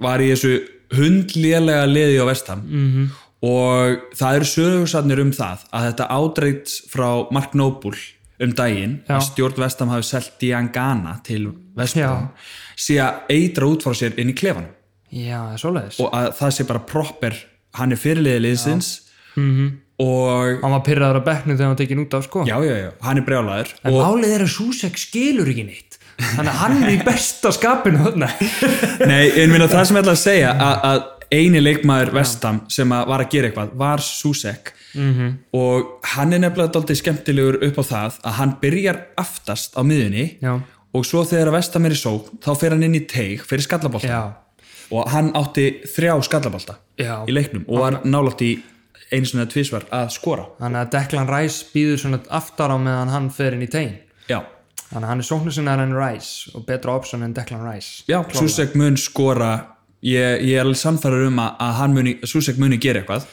A: var í þessu hundlélega liði á Vestham -hmm. og það eru sögursarnir um það að þetta ádreitt frá Mark Noble um daginn
B: Já.
A: að stjórn Vestham hafi selt Diangana til
B: Já.
A: Vestham sé að eitra út frá sér inn í klefanum
B: já, það er svoleiðis
A: og að það sé bara proper hann er fyrirliði liðsins
B: Mhm.
A: -hmm. og
B: hann var pyrraður á bekknum þegar hann var tekinn út af sko
A: já, já, já, hann er brjálæður
B: En
A: og
B: málið er að Susek skilur ekki neitt Þannig að hann er í besta skapinu þarna
A: Nei, en minna það sem ég ætla að segja að, að eini leikmaður vestam sem að var að gera eitthvað var Susek
B: Mhm.
A: -hmm. og hann er nefnilega daldið skemmtilegur upp á það að hann byrjar aftast á miðunni
B: Já.
A: og svo þegar að vestam er í sók þá fer hann inn í teig fyrir skallabolta
B: Já,
A: og hann átti þrjá skallabolta
B: Já.
A: í leiknum og var nálátt í einu svona tvísvar að skora
B: þannig að Declan Rice býður svona aftar á meðan hann fer inn í tegin
A: Já,
B: Þannig að hann er sóknusinnar en Rice og betra option en Declan Rice
A: Já Susek mun skora ég, ég er alveg samfæður um að, að hann muni, Susek muni gera eitthvað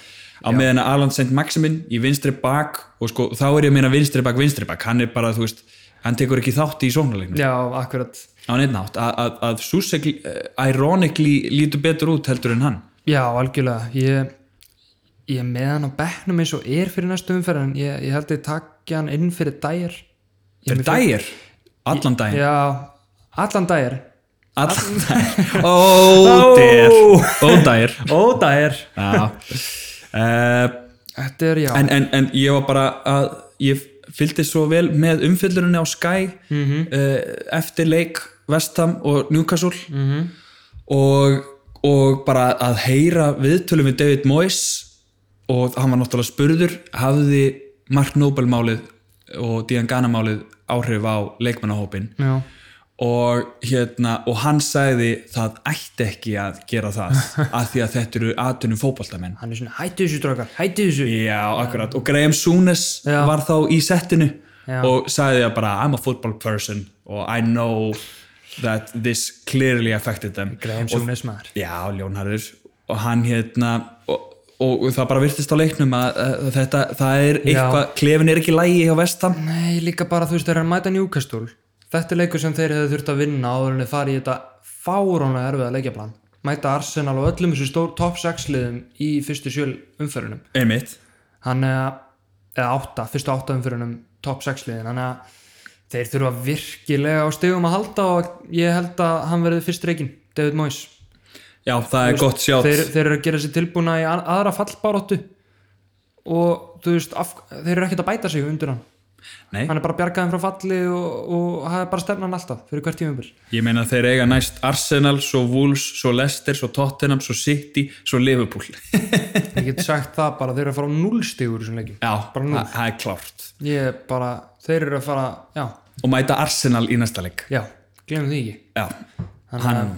A: á meðan að Alan St. Maximin í vinstri bak og sko, þá er ég að meina vinstri bak vinstri bak, hann er bara, þú veist hann tekur ekki þátt í sóknarleiknum
B: Já, akkurat
A: á neitt nátt, að, að, að Susek eh, ironically lítur betur út heldur en hann
B: Já, algjörlega Ég, ég er með hann á bekknum eins og er fyrir næstu umferð en ég, ég held ég takja hann inn fyrir dægir
A: fyrir dægir, allan dægin
B: Já, allan dægir
A: allan dægir, ódægir ódægir
B: Ó, dægir
A: já uh,
B: Þetta er, já,
A: en, en, en ég var bara að ég fylgdi svo vel með umfyllurinn á Sky eh, eftir leik Vestham og Newcastle og, og bara að heyra viðtölum við David Moyes og hann var náttúrulega spurður hafði Mark Noble málið og Dian Gana málið áhrif á leikmannahópin
B: já
A: og, hérna, og hann sagði það ætti ekki að gera það af því að þetta eru atunum fótboltamenn
B: Hann er svona, hættu þessu drakar, hættu þessu
A: Já, akkurat, og Graham Souness
B: Já.
A: var þá í settinu
B: Já.
A: og sagði að bara I'm a football person og I know that this clearly affected them
B: Graham Sjónes maður
A: Já, Ljónharður og hann hérna og, og það bara virtist á leiknum að, að þetta, það er eitthvað, klefin er ekki lægi hjá vestam
B: Nei, líka bara þú veist þegar hann mæta Newcastle Þetta er leikur sem þeir hefðu þurft að vinna áður en þeir fari í þetta fárónlega erfiða leikjaplan Mæta Arsenal og öllum þessu stór top 6 liðum í fyrstu sjöl umförunum
A: Einmitt,
B: Hann er eða átta, fyrstu átta umförunum top 6 liðin Þannig að þeir þurfa virkilega á stegum að halda og ég held að hann verði fyrst reikinn, David Moyes
A: já, það er gott sjátt
B: þeir, þeir eru að gera sér tilbúna í a- aðra fallbaróttu og þú veist, af, þeir eru ekkert að bæta sig undir hann
A: Nei,
B: hann er bara bjargaðin frá falli og, og það er bara stefnan alltaf fyrir hvert tímumbil
A: ég meina þeir eiga næst Arsenal, svo Wolves, svo Leicester, svo Tottenham, svo City, svo Liverpool
B: ég get sagt það bara, þeir eru að fara á núlstígur þessum leikum,
A: Já,
B: Bara núll.
A: það það er klárt
B: ég er bara þeir eru að fara, já,
A: og mæta Arsenal í næsta leik
B: já glemum því ekki
A: Já, hann,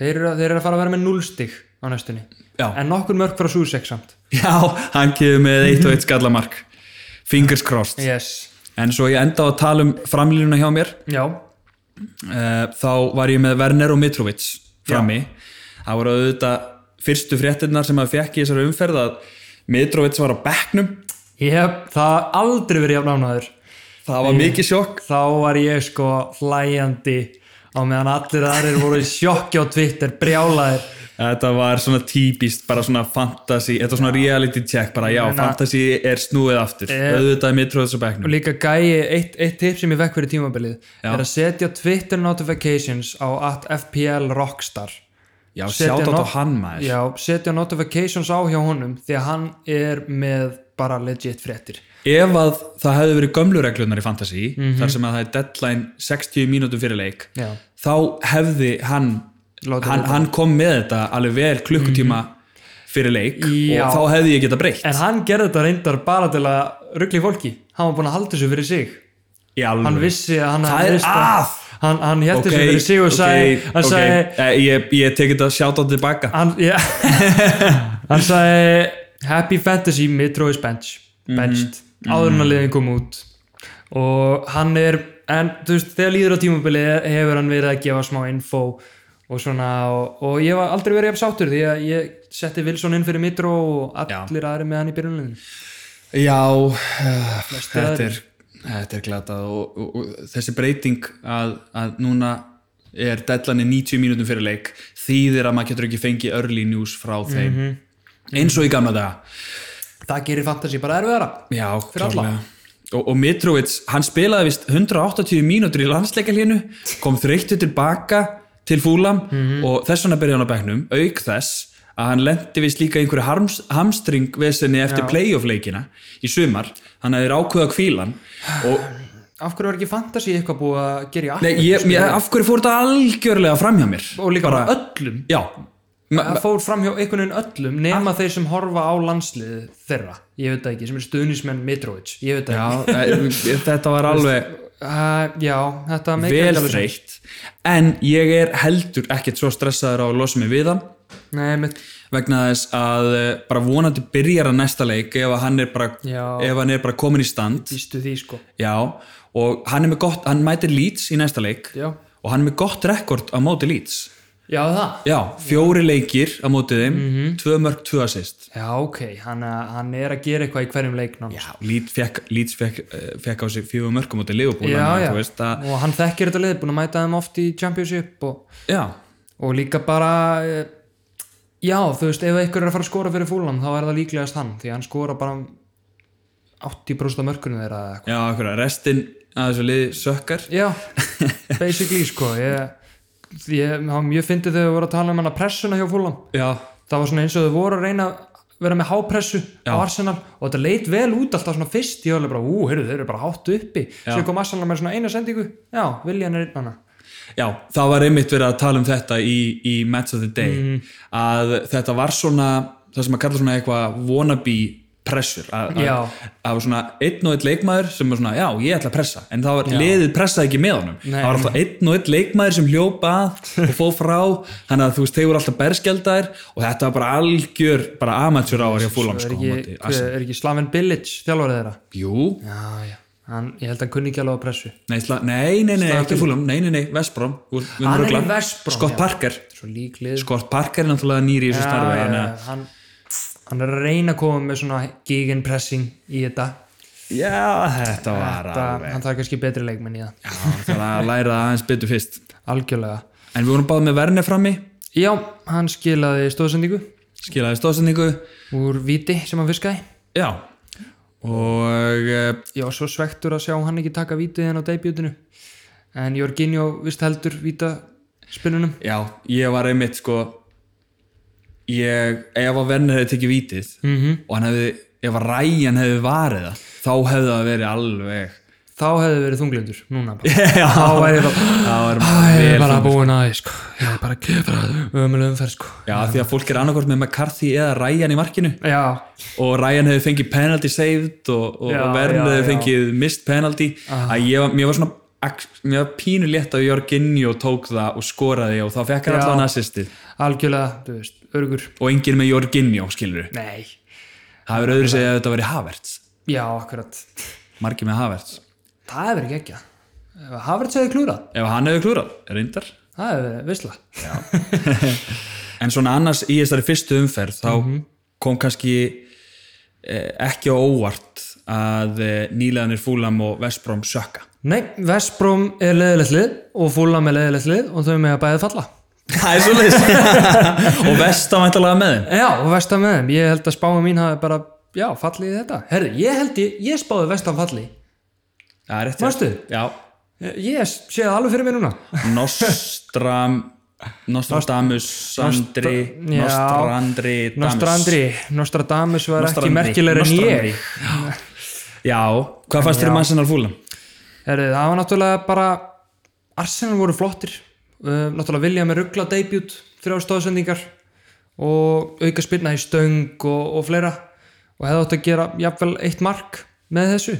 B: þeir eru, að, þeir eru að fara að vera með núlstíg á næstunni,
A: Já.
B: en nokkur mörg frá Susek samt,
A: já, hann kefur með eitt og eitt skallamark Fingers crossed
B: yes
A: En svo ég enda á að tala um framlínuna hjá mér
B: já,
A: Eh, Þá var ég með Werner og Mitrovic frammi Það voru auðvitað fyrstu fréttirnar sem að fekk í þessari umferð að Mitrovic var á bekknum
B: ég hef það aldrei verið jafn ánaður
A: Það var mikið sjokk
B: þá var ég sko hlæjandi á meðan allir aðrir voru í sjokki á Twitter, brjálaðir
A: Þetta var svona típist, bara svona fantasy Þetta var svona reality check, bara já,
B: Ég meina- Eh,
A: fantasy er snúið aftur Auðvitað er Mitrovic á bekknum
B: og líka gæi, eitt, eitt tip sem ég vekk fyrir tímabilið
A: Já.
B: er að setja Twitter notifications á FPL Rockstar
A: Já,
B: Setja
A: sjátt á
B: not-
A: hann maður
B: já, setja notifications á hjá honum því að hann er með bara legit fréttir
A: ef að það hefði verið gömlu reglunar í fantasy þar sem að það er deadline 60 mínútum fyrir leik
B: Mhm. Já.
A: þá hefði hann
B: Látið Mhm.
A: hann, hann kom með þetta alveg vel klukkutíma fyrir leik
B: Já.
A: og þá hefði ég geta breytt
B: en hann gerði þetta reyndar bara til að ruggli fólki, hann var búin að halda þessu fyrir sig
A: í alveg
B: hann vissi að hann
A: Mm. Það
B: hafði
A: er
B: veist að-
A: að!
B: hann, hann hélt þessu fyrir sig og sagði, hann sagði
A: Eh, ég, ég tekið þetta sjátt á tilbaka
B: hann, já, hann sagði Happy Fantasy Mitro's Bench
A: Mhm,
B: benched, áður en að liðin kom út og hann er en þú veist, þegar líður á tímabili hefur hann verið að gefa smá info og svona, og, og ég var aldrei verið jafn sáttur því að ég setti Wilson inn fyrir Mitro og allir aðri með hann í byrjunlegin
A: já eh, þetta
B: aðrir.
A: er, þetta er glatað og, og, og þessi breyting að, að núna er deadline 90 mínútum fyrir leik þýðir að maður getur ekki fengið early news frá þeim eins og í gamla daga
B: það gerir Fantasy bara erfiðara
A: Já, klárlega og, og Mitrovic, hann spilaði vist 180 mínútur í landsleikalínu kom þreyttu tilbaka til Fúlam og þess vegna byrjaði hann á bekknum auk þess að hann lendi vist líka í einhverju harms, hamstringvesinni eftir playoff leikina í sumar hann hefði ákveða kvílan og
B: af hverju var ekki Fantasy eitthvað búið að gera í
A: nei,
B: akkur
A: ég, ég, af hverju fór þetta algjörlega framhjá mér
B: og líka bara öllum
A: Já, Ma-
B: það fór fram hjá einhvern veginn öllum nema þeir sem horfa á landsliðið þeirra ég veit það ekki, sem er stuðnismenn Mitrovic ég veit það
A: já eh, þetta var alveg
B: ekki, uh, já þetta meikar ekki
A: vel
B: alveg sens.
A: þreytt en ég er heldur ekkert svo stressaður á að losa mig við hann
B: Nei, mitt,
A: vegna þess að eh, bara vonandi byrjar að næsta leik ef að hann er bara,
B: Já.
A: ef hann er bara komin í stand
B: býstu því sko
A: já, og hann er með gott hann mætir Leeds í næsta leik
B: já,
A: og hann er með gott rekord á móti Leeds
B: já það
A: já, fjóri leikir á móti þeim
B: Mhm.
A: tvö mörg, tvö assist
B: já ok, hann, eh, hann er að gera eitthvað í hverjum leiknum já,
A: Leeds fekk, Leeds fekk, eh, fekk á sig fjóri mörg á móti Liverpool
B: já,
A: þannig að þú veist að,
B: og hann þekkir þetta lið, búin að mæta þeim oft í Championship og,
A: já,
B: og líka bara eh, já, þú veist, ef einhver er að fara að skora fyrir fúlan þá er það líklegast hann, því hann skora bara 80% af mörkunum þeirra eða eitthvað
A: já, akkur restin að þessu liði sökkar
B: Já, basically sko ég, ég, það var mjög fyndið þegar við vorum að tala um hana pressuna hjá fúlam
A: já,
B: það var svona eins og þau voru að reyna að vera með hápressu
A: Já.
B: á Arsenal og þetta leit vel út alltaf svona fyrst ég var alveg bara, ú, heyrðu, þeir eru bara hátt uppi svo kom Arsenal með svona eina sendingu já, Viljan er einn hana
A: Já, það var einmitt verið að tala um þetta í, í Match of the Day
B: Mhm.
A: að þetta var svona það sem að kalla svona eitthvað wannabe pressur að að-
B: Já.
A: að var svona einn og einn leikmaður sem var svona já, ég ætla að pressa en það var, liðið pressaði ekki með honum
B: Nei.
A: það var alltaf einn og einn leikmaður sem hljópa að og fó frá þannig að þú veist, þeir voru alltaf berskjaldar og þetta var bara algjör bara amatjör ávar hjá fúlam
B: er
A: sko, á móti
B: ekki, hver,
A: Arsenal.
B: er ekki Slaven Bilic þjálfarið þeirra
A: Jú,
B: já, já, hann, ég held að hann kunni ekki alveg á pressu
A: nei, sla, nei, nei, nei, ekki fúlam nei, nei, nei, Vestbrom Þú- við erum
B: Hann er í
A: rugla.
B: Ah, West Brom,
A: Scott
B: já.
A: Parker
B: svo líklið
A: Scott Parker er náttúrulega nýri Sko, í þessu starfi þannig að-
B: hann, hann er að reyna að koma með svona gegenpressing í þetta
A: Já, þetta var
B: það, hann þarf kannski betri leikmenn í það
A: Það var að læra það aðeins betur fyrst
B: algjörlega
A: En við vorum báðið með Verne frammi
B: já, hann skilaði stóðsendingu
A: Skilaði stóðsendingu
B: úr viti sem hann fiskaði
A: Já Og eh,
B: já, svo svektur að sjá hann ekki taka vitið henn á debutinu en Jorginho vist heldur vita spinnunum
A: já, ég var einmitt sko Ég, ef að Verne hefði tekið vítið -hmm.
B: Mhm.
A: Og hann hefði, ef að Ryan hefði varið það Þá hefði það verið alveg
B: þá hefði verið þunglindur núna bara.
A: Já,
B: þá væri það
A: það var
B: Æ, ég
A: vel
B: er bara
A: fram-
B: búin að því sko. ég er bara að gefa það ömulega umferð sko.
A: Já, því að fólk er annarkort með McCarthy eða Ryan í markinu
B: já,
A: og Ryan hefði fengið penalty saved og, og
B: Já,
A: Verne
B: já,
A: hefði
B: já.
A: fengið missed penalty að ég var, mér var svona ak- mér var pínu létt að Jorginho tók það og skoraði og þá fekk hann
B: Já.
A: allan assistið
B: algjörlega, þú veist, örgur
A: og enginn með Jorginho skilur
B: nei,
A: það verður öðru segja að þetta verið Havertz
B: já, akkurat
A: margir með Havertz
B: það hefur ekki ekki Havertz hefði klúrað,
A: ef hann hefði klúrað, reyndar
B: það hefur visla
A: en svona annars í þessari fyrstu umferð þá
B: Mhm.
A: kom kannski eh, ekki á óvart að eh, nýleganir Fúlam og Vestbróm sökka
B: Nei, Vestbróm er leðilegt lið og Fulham er leðilegt lið og þau með að bæði falla.
A: það er svo leys og Vestam ætlalega með þeim
B: Já, og Vestam með þeim. Ég held að spáum mín hafi bara, já, fallið í þetta. Herði, ég held ég, ég spáði Vestam falli.
A: Já, rétt
B: Manstu?
A: Já,
B: Ég sé það alveg fyrir mér núna.
A: Nostram Nostradamus, Sandri
B: Nostra- já.
A: Nostrandri,
B: Nostrandri, Nostradamus var ekki
A: Nostrandri,
B: merkilegur en
A: Nostrandri.
B: ég
A: Já, hvað fannst þér um Arsenal fúlan?
B: Herri, það var náttúrulega bara Arsenal voru flottir uh, náttúrulega Vilja með ruggla debut þrjá stóðsendingar og auka spilna í stöng og, og fleira og hefði átt að gera jafnvel eitt mark með þessu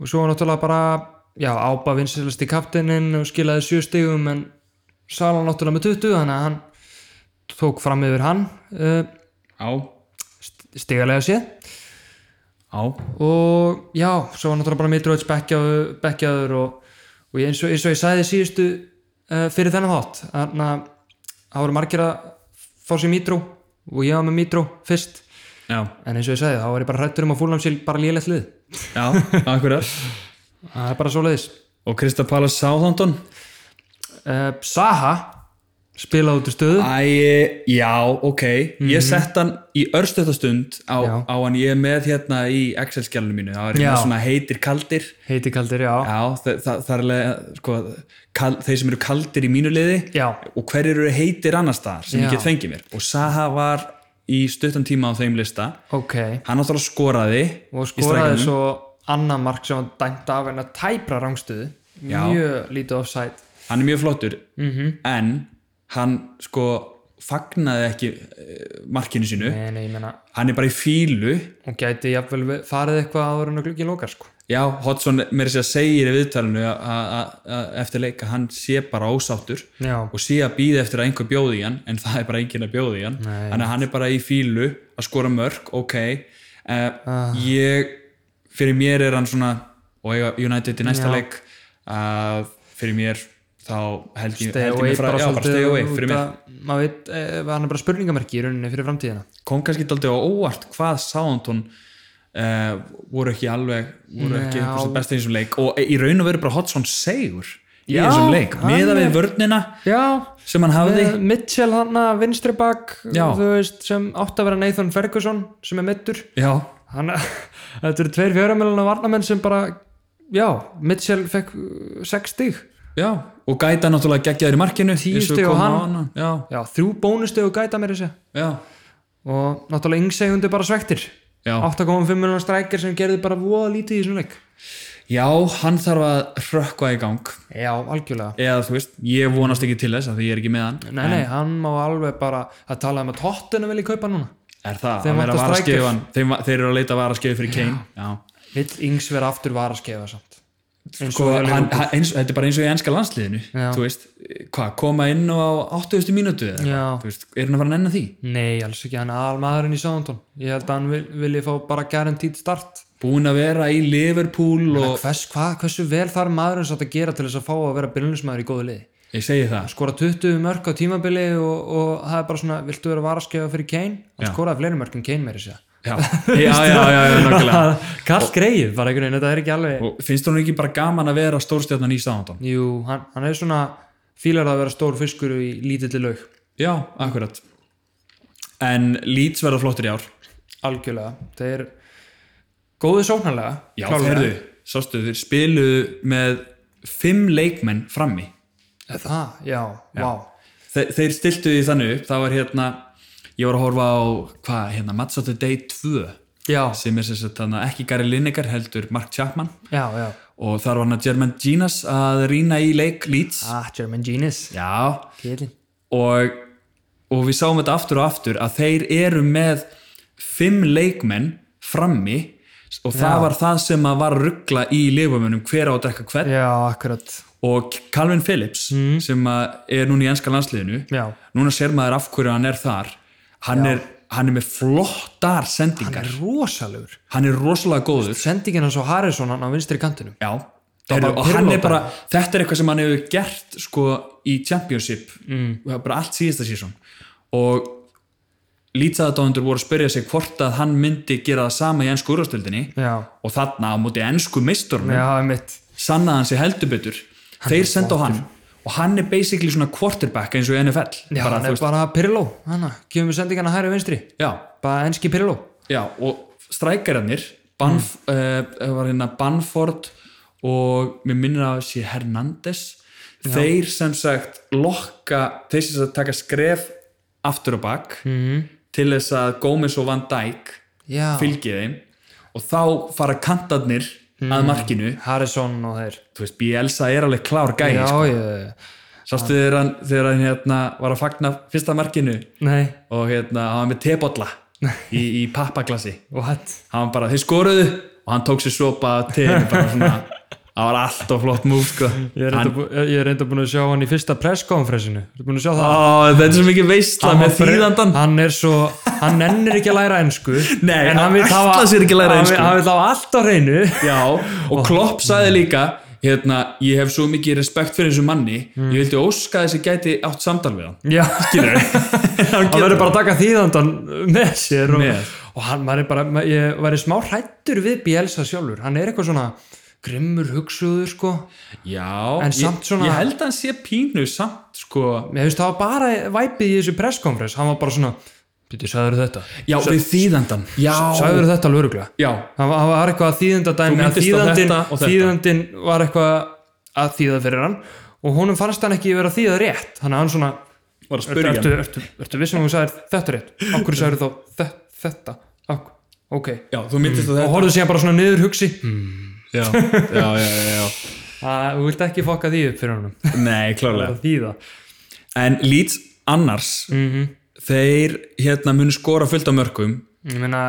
B: og svo var náttúrulega bara já, ába vinsilasti kaptinin og skilaði sjö stigum en Sala náttúrulega með 20 þannig að hann tók fram yfir hann uh,
A: Á,
B: stigalega séð
A: á
B: og já, svo var náttúrulega bara Mitrovic bekkjaður, bekkjaður og, og ég, eins, og, eins og ég sagði síðustu uh, fyrir þennan þátt þannig að það voru margir að fá sér Mitró og ég var með Mitró fyrst
A: Já,
B: en eins og ég sagði þá var ég bara hrættur um að fúlnám sér bara lélegt lið
A: já, akkurat
B: það er bara svo leiðis
A: Og Krista Palace Southampton
B: uh, Saha spilaði út í stöðu
A: Æ, já, ok Ég sett hann í örstutastund
B: Mhm.
A: á,
B: Já.
A: á hann ég er með hérna í Excel-skjálunum mínu Það var
B: Já.
A: hérna svona heitir kaldir
B: heiti kaldir, já,
A: Já, þa þa það er alveg sko, kal, þeir sem eru kaldir í mínu liði
B: já.
A: og hverjir eru heitir annar staðar sem
B: Já.
A: ég get fengið mér og Saha var í stuttan tíma á þeim lista
B: ok
A: hann náttúrulega skoraði
B: og
A: í strækjanum.
B: skoraði svo annað mark sem hann dæmt af en að tæpra rangstöðu
A: Já.
B: mjög lítið offside
A: hann er mjög flottur
B: Mhm.
A: en hann sko fagnaði ekki eh, markinu sínu
B: en ég menna
A: hann er bara í fílu
B: hún gæti jafnvel ve- farið eitthvað áður en að glukkin lokar sko.
A: já, Hodson meira sér að segja í viðtalinu að- að- að- eftir leik að hann sé bara ósáttur
B: já,
A: og sé að býða eftir að einhver bjóði í hann en það er bara enginn að bjóði í hann
B: Nei.
A: þannig að hann er bara í fílu að skora mörg ok uh,
B: Ah.
A: ég, fyrir mér er hann svona og eiga United í næsta
B: Já.
A: leik uh, fyrir mér þá held ég,
B: stay
A: held ég
B: away
A: mér frá, já, bara stay away
B: út
A: fyrir mér
B: að- maður veit, eh, hann er bara spurningamerki í rauninni fyrir framtíðina
A: kom kannski daldið á óvart hvað Southampton uh, voru ekki alveg voru ekki
B: Já.
A: einhversu besti í þessum leik og í raun og veru bara Hodgson segur í
B: Já,
A: þessum leik,
B: hann
A: meða
B: er-
A: við vörnina
B: já,
A: sem hann hafði
B: með Mitchell hann að vinstri bak
A: Já.
B: þú veist, sem átt að vera Nathan Ferguson sem er mittur
A: já,
B: hann, þetta eru tveir fjöramilina varnamenn sem bara, já, Mitchell fekk uh, sex stig
A: Já, og gæta náttúrulega geggjaður í markinu eins við
B: stig og
A: komum
B: hann.
A: á áðan. Já,
B: já, þrjú bónusteg og gæta mér þessi
A: já,
B: og náttúrulega yngsegjundi bara svektir
A: já
B: 8,5 miljonar strækir sem gerði bara voða lítið í svona leik
A: Já, hann þarf að hrökkva í gang
B: já, algjörlega
A: eða þú veist, ég vonast ekki til þess að því ég er ekki með hann
B: Nei, nei, hann má alveg bara að tala um að tóttinu vilji kaupa núna.
A: Er það,
B: Þeim
A: að vera
B: vantar striker.
A: varaskefan þeim, va- Þeir eru að leita varaskefið fyrir Kane Já,
B: Vill Yngs vera aftur varaskefa samt. Eins
A: sko,
B: og
A: hann,
B: hjá
A: hann,
B: Liverpool.
A: eins, Þetta er bara eins og í enska landsliðinu
B: Já.
A: Þú veist, hvað, koma inn á 80. mínútu eða
B: Já.
A: eitthvað, þú veist, er hann að fara að nenna því?
B: Nei, alls ekki, hann er aðalmaðurinn í Sándón. Ég held að hann vil, vilji fá bara guaranteed start.
A: Búin að vera í Liverpool
B: Og
A: og
B: hvers, hva, hversu vel þarf maðurinn satt að gera til þess að fá að vera byrjunismæður í góðu liði?
A: ég segi það
B: Skora 20 mörg á tímabili og, og það er bara svona, viltu vera varaskefa fyrir Kane? Hann
A: Já.
B: skoraði fleiri mörg en Kane meiri sér.
A: Já, já, já, já, já, já nokkulega
B: Kall greið bara einhvern veginn, þetta er ekki alveg...
A: Og finnst hún ekki bara gaman að vera stórstjarnan í Sándón?
B: Jú, hann, hann er svona fílar að vera stór fiskur í lítilli laug.
A: Já, akkurat En Leeds verða flottir í ár
B: algjörlega þeir er góðu sóknarlega
A: Já,
B: klárlega.
A: þeirðu, sástu, þeir spiluðu með fimm leikmenn frammi
B: Er það, já, já. Vá.
A: Þe, Þeir stiltu því þannig upp, það var hérna ég var að horfa á, hvað, hérna Match of the Day 2
B: já,
A: sem er sem sagt þarna ekki Gary Lineker heldur Mark Chapman
B: já, já
A: og þar var hann að German Ginas að rýna í leik Leeds
B: ah, German Genius
A: Já,
B: Kjellin.
A: og, og við sáum þetta aftur og aftur að þeir eru með fimm leikmenn frammi og það var það sem að var að ruggla í leifumönum hver á að drekka hvern
B: já, akkurat
A: og Calvin Phillips sem að er núna í enska landsliðinu
B: já,
A: núna sér maður af hverju hann er þar hann, er, hann er með flottar sendingar,
B: er rosalegur
A: hann er rosalega góður
B: sendingin hans á Harrison hann á vinstri kantinum
A: Já,
B: var
A: Heru,
B: bara
A: og hann er
B: pirlóta.
A: bara, þetta er eitthvað sem hann hefur gert sko í Championship mm. bara allt síðasta sísón og lítsaðadáðundur voru að spyrja sig hvort að hann myndi gera það sama í ennsku úrvastöldinni
B: já,
A: og þarna á móti ennsku misturnu
B: já, einmitt
A: sannaði hann sig heldur betur þeir senda á hann og hann er basically svona quarterback eins og í NFL
B: já,
A: bara,
B: hann
A: þú
B: er
A: veist,
B: bara Pirlo hana, gefum við sendingana hæri og vinstri
A: já,
B: bara enski Pirlo
A: já, og strækjararnir Banf, eh, mm. var hérna Banford og mér minnir að sé Hernandez þeir sem sagt lokka, þeir sem sagt taka skref aftur og bak -hmm. til þess að Gómez og Van Dijk
B: Mhm. já,
A: fylgi þeim og þá fara kantarnir
B: Mm.
A: að markinu
B: Harrison og þeir
A: þú veist, Bielsa er alveg klár gæði
B: já,
A: sko.
B: ég,
A: sástu þegar hann, þegar hann hérna, var að fagna fyrsta markinu
B: nei,
A: og hérna, hann var með tebolla í, í pappaglasi
B: what
A: hann var bara, þeir skoruðu og hann tók sér sopa að tegum bara svona, það var allt og flott múf sko.
B: ég er,
A: hann,
B: reynda, bú- ég er reynda búin að sjá hann í fyrsta presskonferensinu Þú er búin að sjá það
A: ó, þetta er svo mikið veistla
B: Hann
A: með
B: var bre-
A: þýðandan
B: hann er svo, hann nennir ekki að læra ensku
A: Nei,
B: en
A: hann
B: hann vil
A: ætlar
B: hafa-
A: sér ekki að læra
B: hann vil-
A: ensku.
B: hann vil hafa allt á hreinu
A: Já, og Klopp
B: Mm.
A: sagði líka hérna, ég hef svo mikið respekt fyrir þessu manni
B: Mm.
A: ég vildi óska að þessi gæti átt samtal við hann
B: já,
A: hann
B: hann verður bara að taka þýðandan með sér og,
A: Með.
B: og hann maður er bara, ma- ég væri smá hrættur við Bielsa sjálfur, hann er eitthvað svona grimmur hugsuður sko
A: Já,
B: En
A: ég,
B: samt svona-
A: ég held að hann sé pínu samt sko
B: ég veist það var bara væpið í þessu presskonferens hann var bara svona, býttu sagður þetta
A: Já, við þýðandan Já,
B: sagður þetta alveg öruglega
A: já,
B: það var, það var eitthvað að þýðenda dæmi að
A: minntist á
B: þýðandin,
A: þetta og þetta.
B: þýðandin var eitthvað að þýða fyrir hann og honum fannst hann ekki vera að þýða rétt þannig að hann svona
A: var að
B: ertu,
A: spyrja
B: ertu,
A: hann
B: ertu, ertu vissum að hún sagði þetta rétt af hverju sagði þá þe- þetta af, ok,
A: Já, þú myndist á
B: og
A: þetta
B: horfðu síðan bara svona niður hugsi
A: Mm. já, já, já, já, já.
B: að þú vilt ekki fokka því upp fyrir honum
A: Nei, klárlega
B: að þýða
A: En Leeds annars þeir hérna mun skora fullt á mörgum
B: ég meina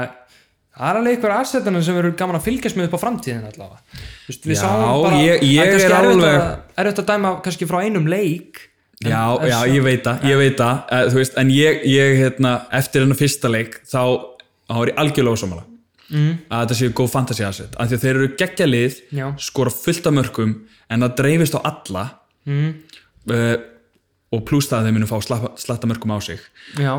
B: Það er alveg einhver aðsetjana sem eru gaman að fylgjast með upp á framtíðin allavega. Vist, við
A: Já,
B: sáum bara,
A: ég- ég
B: það kannski
A: er
B: erfitt
A: alveg-
B: að, erfitt að dæma kannski frá einum leik.
A: Já, já, ég veit það, ég veit það eh, þú veist, en ég, ég hérna, eftir hennar fyrsta leik þá þá er ég algjörlega ósámála mm. að þetta séu góð fantasy asset af því að þeir eru geggja lið,
B: Já.
A: skora fullt af mörgum en það dreifist á alla mm. og plús það að þeir munu fá slappa- slatta mörgum á sig
B: Já,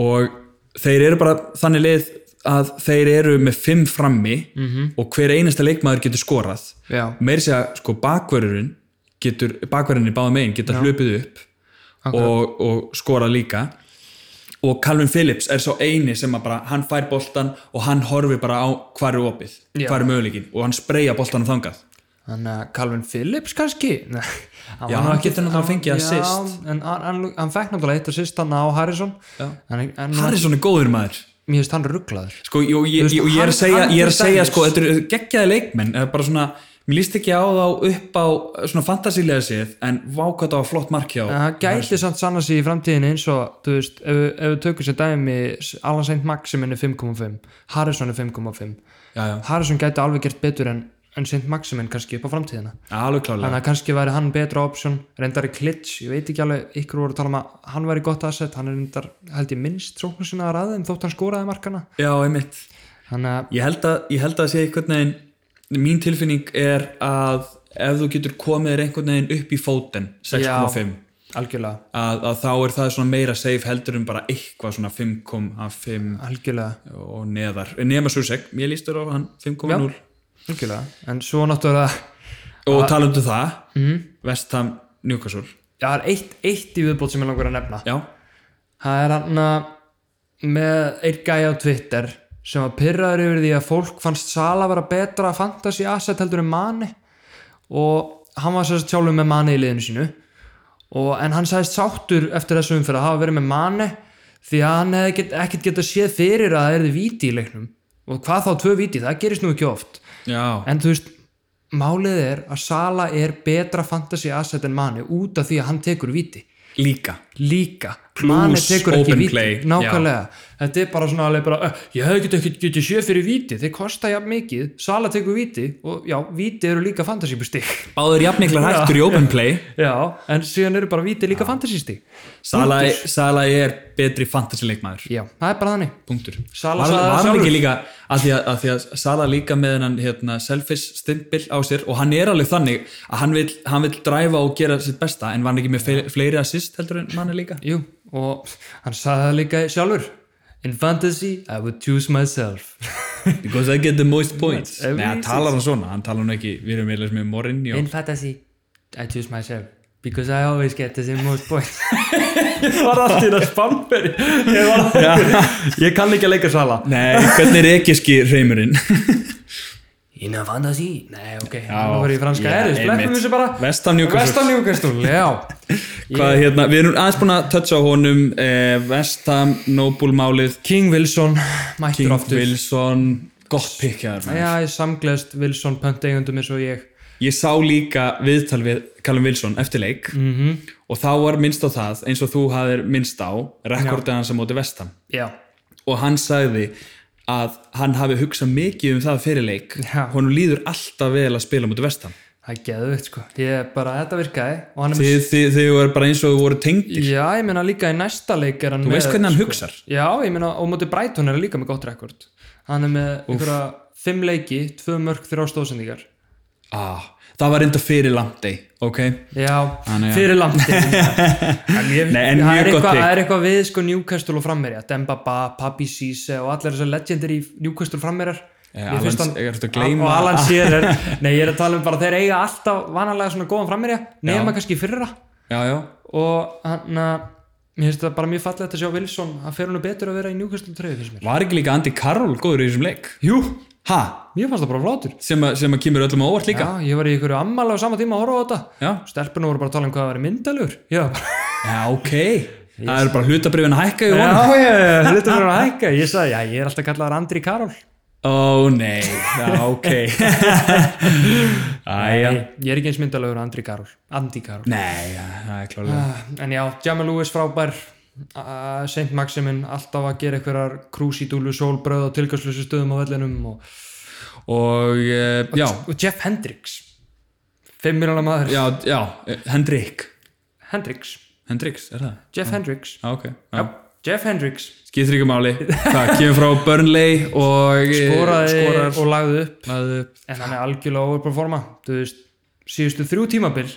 A: og þeir eru bara þannig lið að þeir eru með fimm frammi -hmm. og hver einasta leikmaður getur skorað
B: Já.
A: meiri segja sko bakverðurinn getur, bakverðurinn í báða megin geta hlupið upp og, og skorað líka og Calvin Phillips er svo eini sem að bara hann fær boltan og hann horfi bara á hvar er opið,
B: Já.
A: hvar er möguleikin og hann spreyja boltanum þangað
B: Þannig að Calvin Phillips kannski Nei, hann
A: Já,
B: var nú
A: hann
B: ekki-
A: getur náttúrulega fengið
B: Já,
A: assist.
B: En hann, hann, hann fekk náttúrulega eitt assist hann á Harrison
A: Já.
B: En, en
A: hann er svona góður maður
B: mér finnst hann rugglaður
A: sko, og ég,
B: Þú veist,
A: ég, og ég er að
B: hann-
A: segja,
B: hann
A: ég er að
B: til
A: segja
B: dæmis-
A: sko, þetta eru geggjaði leikmenn eða bara svona, mér líst ekki á þá upp á eh, svona fantasílega séð en vákvæmt á flott mark hjá
B: En hann gæti samt sanna sig í framtíðinu eins og þú veist, ef, við- ef við tökum sér dæmi Alan Saint Maximin er 5,5 Harrison er 5,5
A: já, já,
B: Harrison gæti alveg gert betur en, en Saint Maximin kannski upp á framtíðina
A: alveg klálega
B: Þannig að kannski væri hann betra option reyndari klits, ég veit ekki alveg ykkur voru að tala um að hann væri gott asset, hann er reyndar held ég minnst sóknarsina að raðum þótt hann skoraði markana
A: já, einmitt
B: Þannig að
A: ég held að, ég held að segja einhvern veginn mín tilfinning er að ef þú getur komið þér einhvern veginn upp í fóten 6.5
B: algjörlega,
A: að, að þá er það svona meira safe heldur en bara eitthvað svona 5.5
B: algjörlega,
A: og neðar, nema Susek, mér lístur á hann 5.0
B: algjörlega en svo náttúrulega,
A: og talandu það mm. Vestham Newcastle
B: það er eitt, eitt í viðbót sem ég langar að nefna
A: já,
B: það er hann að með einn gæja á Twitter sem var pyrraður yfir því að fólk fannst Sala vera betra að fantasy asset heldur en Mani og hann var sérst sjálfur með Mani í liðinu sínu og, en hann sagðist sáttur eftir þessu umfyrir að hafa verið með Mani því að hann hefði get, ekkert getað séð fyrir að það erði víti í leiknum og hvað þá tvö víti, það gerist nú ekki oft
A: já,
B: en þú veist, málið er að Sala er betra fantasy asset en Mani út af því að hann tekur víti
A: líka
B: líka
A: Plús
B: Mane tekur ekki
A: open
B: víti,
A: play,
B: nákvæmlega þetta er bara svona alveg bara "Eh, ég hefði getið ekki getið sjö fyrir víti, þeir kosta jafn mikið Sala tekur víti og já, víti eru líka fantasíbustig
A: báður jafnmiklar hættur í open play
B: já, en síðan eru bara víti líka fantasístig
A: Sala, Sala er betri fantasy leikmaður
B: já, það er bara þannig
A: punktur
B: Sala
A: var,
B: sagði það
A: var hann
B: sjálfur.
A: ekki líka að því að, að því að Sala líka með hennan hérna, selfish stimpil á sér og hann er alveg þannig að hann vill, hann vill dræfa og gera sitt besta en var hann ekki með fe- fleiri assist heldur en manni líka
B: Jú, og hann sagði það líka sjálfur in fantasy I would choose myself
A: because I get the most points
B: Every
A: Nei, hann talar hann svona, hann talar hann ekki við erum eiginlega með Morinni og
B: fantasy I choose myself because I always get the same most points
A: var allt í það spamperi
B: ég kann ekki að leika Sala
A: Nei, hvernig er ekki reymurinn
B: Inna fantasi Nei, ok,
A: Já,
B: nú var ég í franska
A: já,
B: yeah, erðis Bleppum
A: einmitt.
B: þessu bara
A: Vestam Newcastle.
B: Vestam Newcastle, já
A: Hvað, hérna, við erum aðeins búin að toucha á honum eh, Vestam, Noble málið
B: King Wilson Mættur
A: King
B: aftur
A: Wilson Gott pikkjaður maður.
B: Já, ég samgleðst Wilson pönt eigundum eins og ég
A: Ég sá líka viðtal við Callum Wilson eftir leik -hmm.
B: Mhm.
A: og þá var minnst á það eins og þú hafðir minnst á rekordið hans á móti Vestam
B: Já,
A: og hann sagði að hann hafi hugsað mikið um það fyrir leik
B: Já.
A: honum líður alltaf vel að spila á móti Vestam
B: það er geðveikt sko Ég bara, þetta virkaði Og hann er með
A: þið, þið, þið voru bara eins og þið voru tengdir
B: Já, ég meina líka í næsta leik er hann
A: Þú veist hvernig hann hugsar
B: Já, ég meina, og móti Brighton er hann líka með gott rekord Hann er með einhverja fimm leiki, tvö mörg, þrjá stóðsendingar
A: ah, Það var enda fyrir landi okay?
B: Já,
A: Þannig að-
B: fyrir landi En ég-
A: Nei, en
B: það
A: mjög gott
B: er eitthvað-
A: pick.
B: það er eitthvað við sko Newcastle og frammerja Demba Ba, Papi Sise og allir þessar legendary Newcastle frammerjar
A: Já,
B: Mér finnst
A: Eh, Alan-
B: hann-
A: ég er að gleyma-
B: og Alan Shearer Nei, ég er að tala um bara þeir eiga alltaf vanalega svona góðan frammerja nema kannski í fyrra
A: Já, já
B: og hann að mér finnst það bara mjög fallegt að sjá Wilson hann fer hann betur að vera í Newcastle treyju finnst mér
A: Var ekki líka Andy Carroll góður í þessum leik?
B: Jú,
A: Ha?
B: mér fannst það bara flottur
A: Sem, að- sem að kemur öllum á óvart líka?
B: Já, ég var í ykkur ammala á sama tíma að horfa á þetta
A: Já,
B: Stelpunum voru bara að tala um hvað það væri myndalur Já, bara
A: já ok Það eru bara hlutabrifin að hækka í honum
B: Já, já, já, hlutum fyrir að hækka Ég sagði, já, ég er alltaf kallaðar Andri Karol
A: Ó nei, já ok Æja
B: Nei, Ég er ekki eins myndalögur Andri Karol Andi Karol
A: Nei, já, það er klárlega
B: uh, En já, Jamal Lewis frábær uh, Saint Maximin alltaf að gera einhverjar krúsidúlu sólbröð og tilgjörslusu stöðum á vellinum og,
A: Og uh, já,
B: og Jeff Hendricks 5 miljonar maður
A: já, já, eh, Hendrik
B: Hendricks,
A: Hendriks, er það?
B: Jeff Hendricks
A: Já, ok já.
B: já, Jeff Hendricks
A: Skýtur ykkur máli Það kemur frá Burnley og eh,
B: skoraði
A: skorar
B: og lagði upp
A: Lagði upp.
B: en hann er algjörlega overperforma þú veist, síðustu þrjú tímabil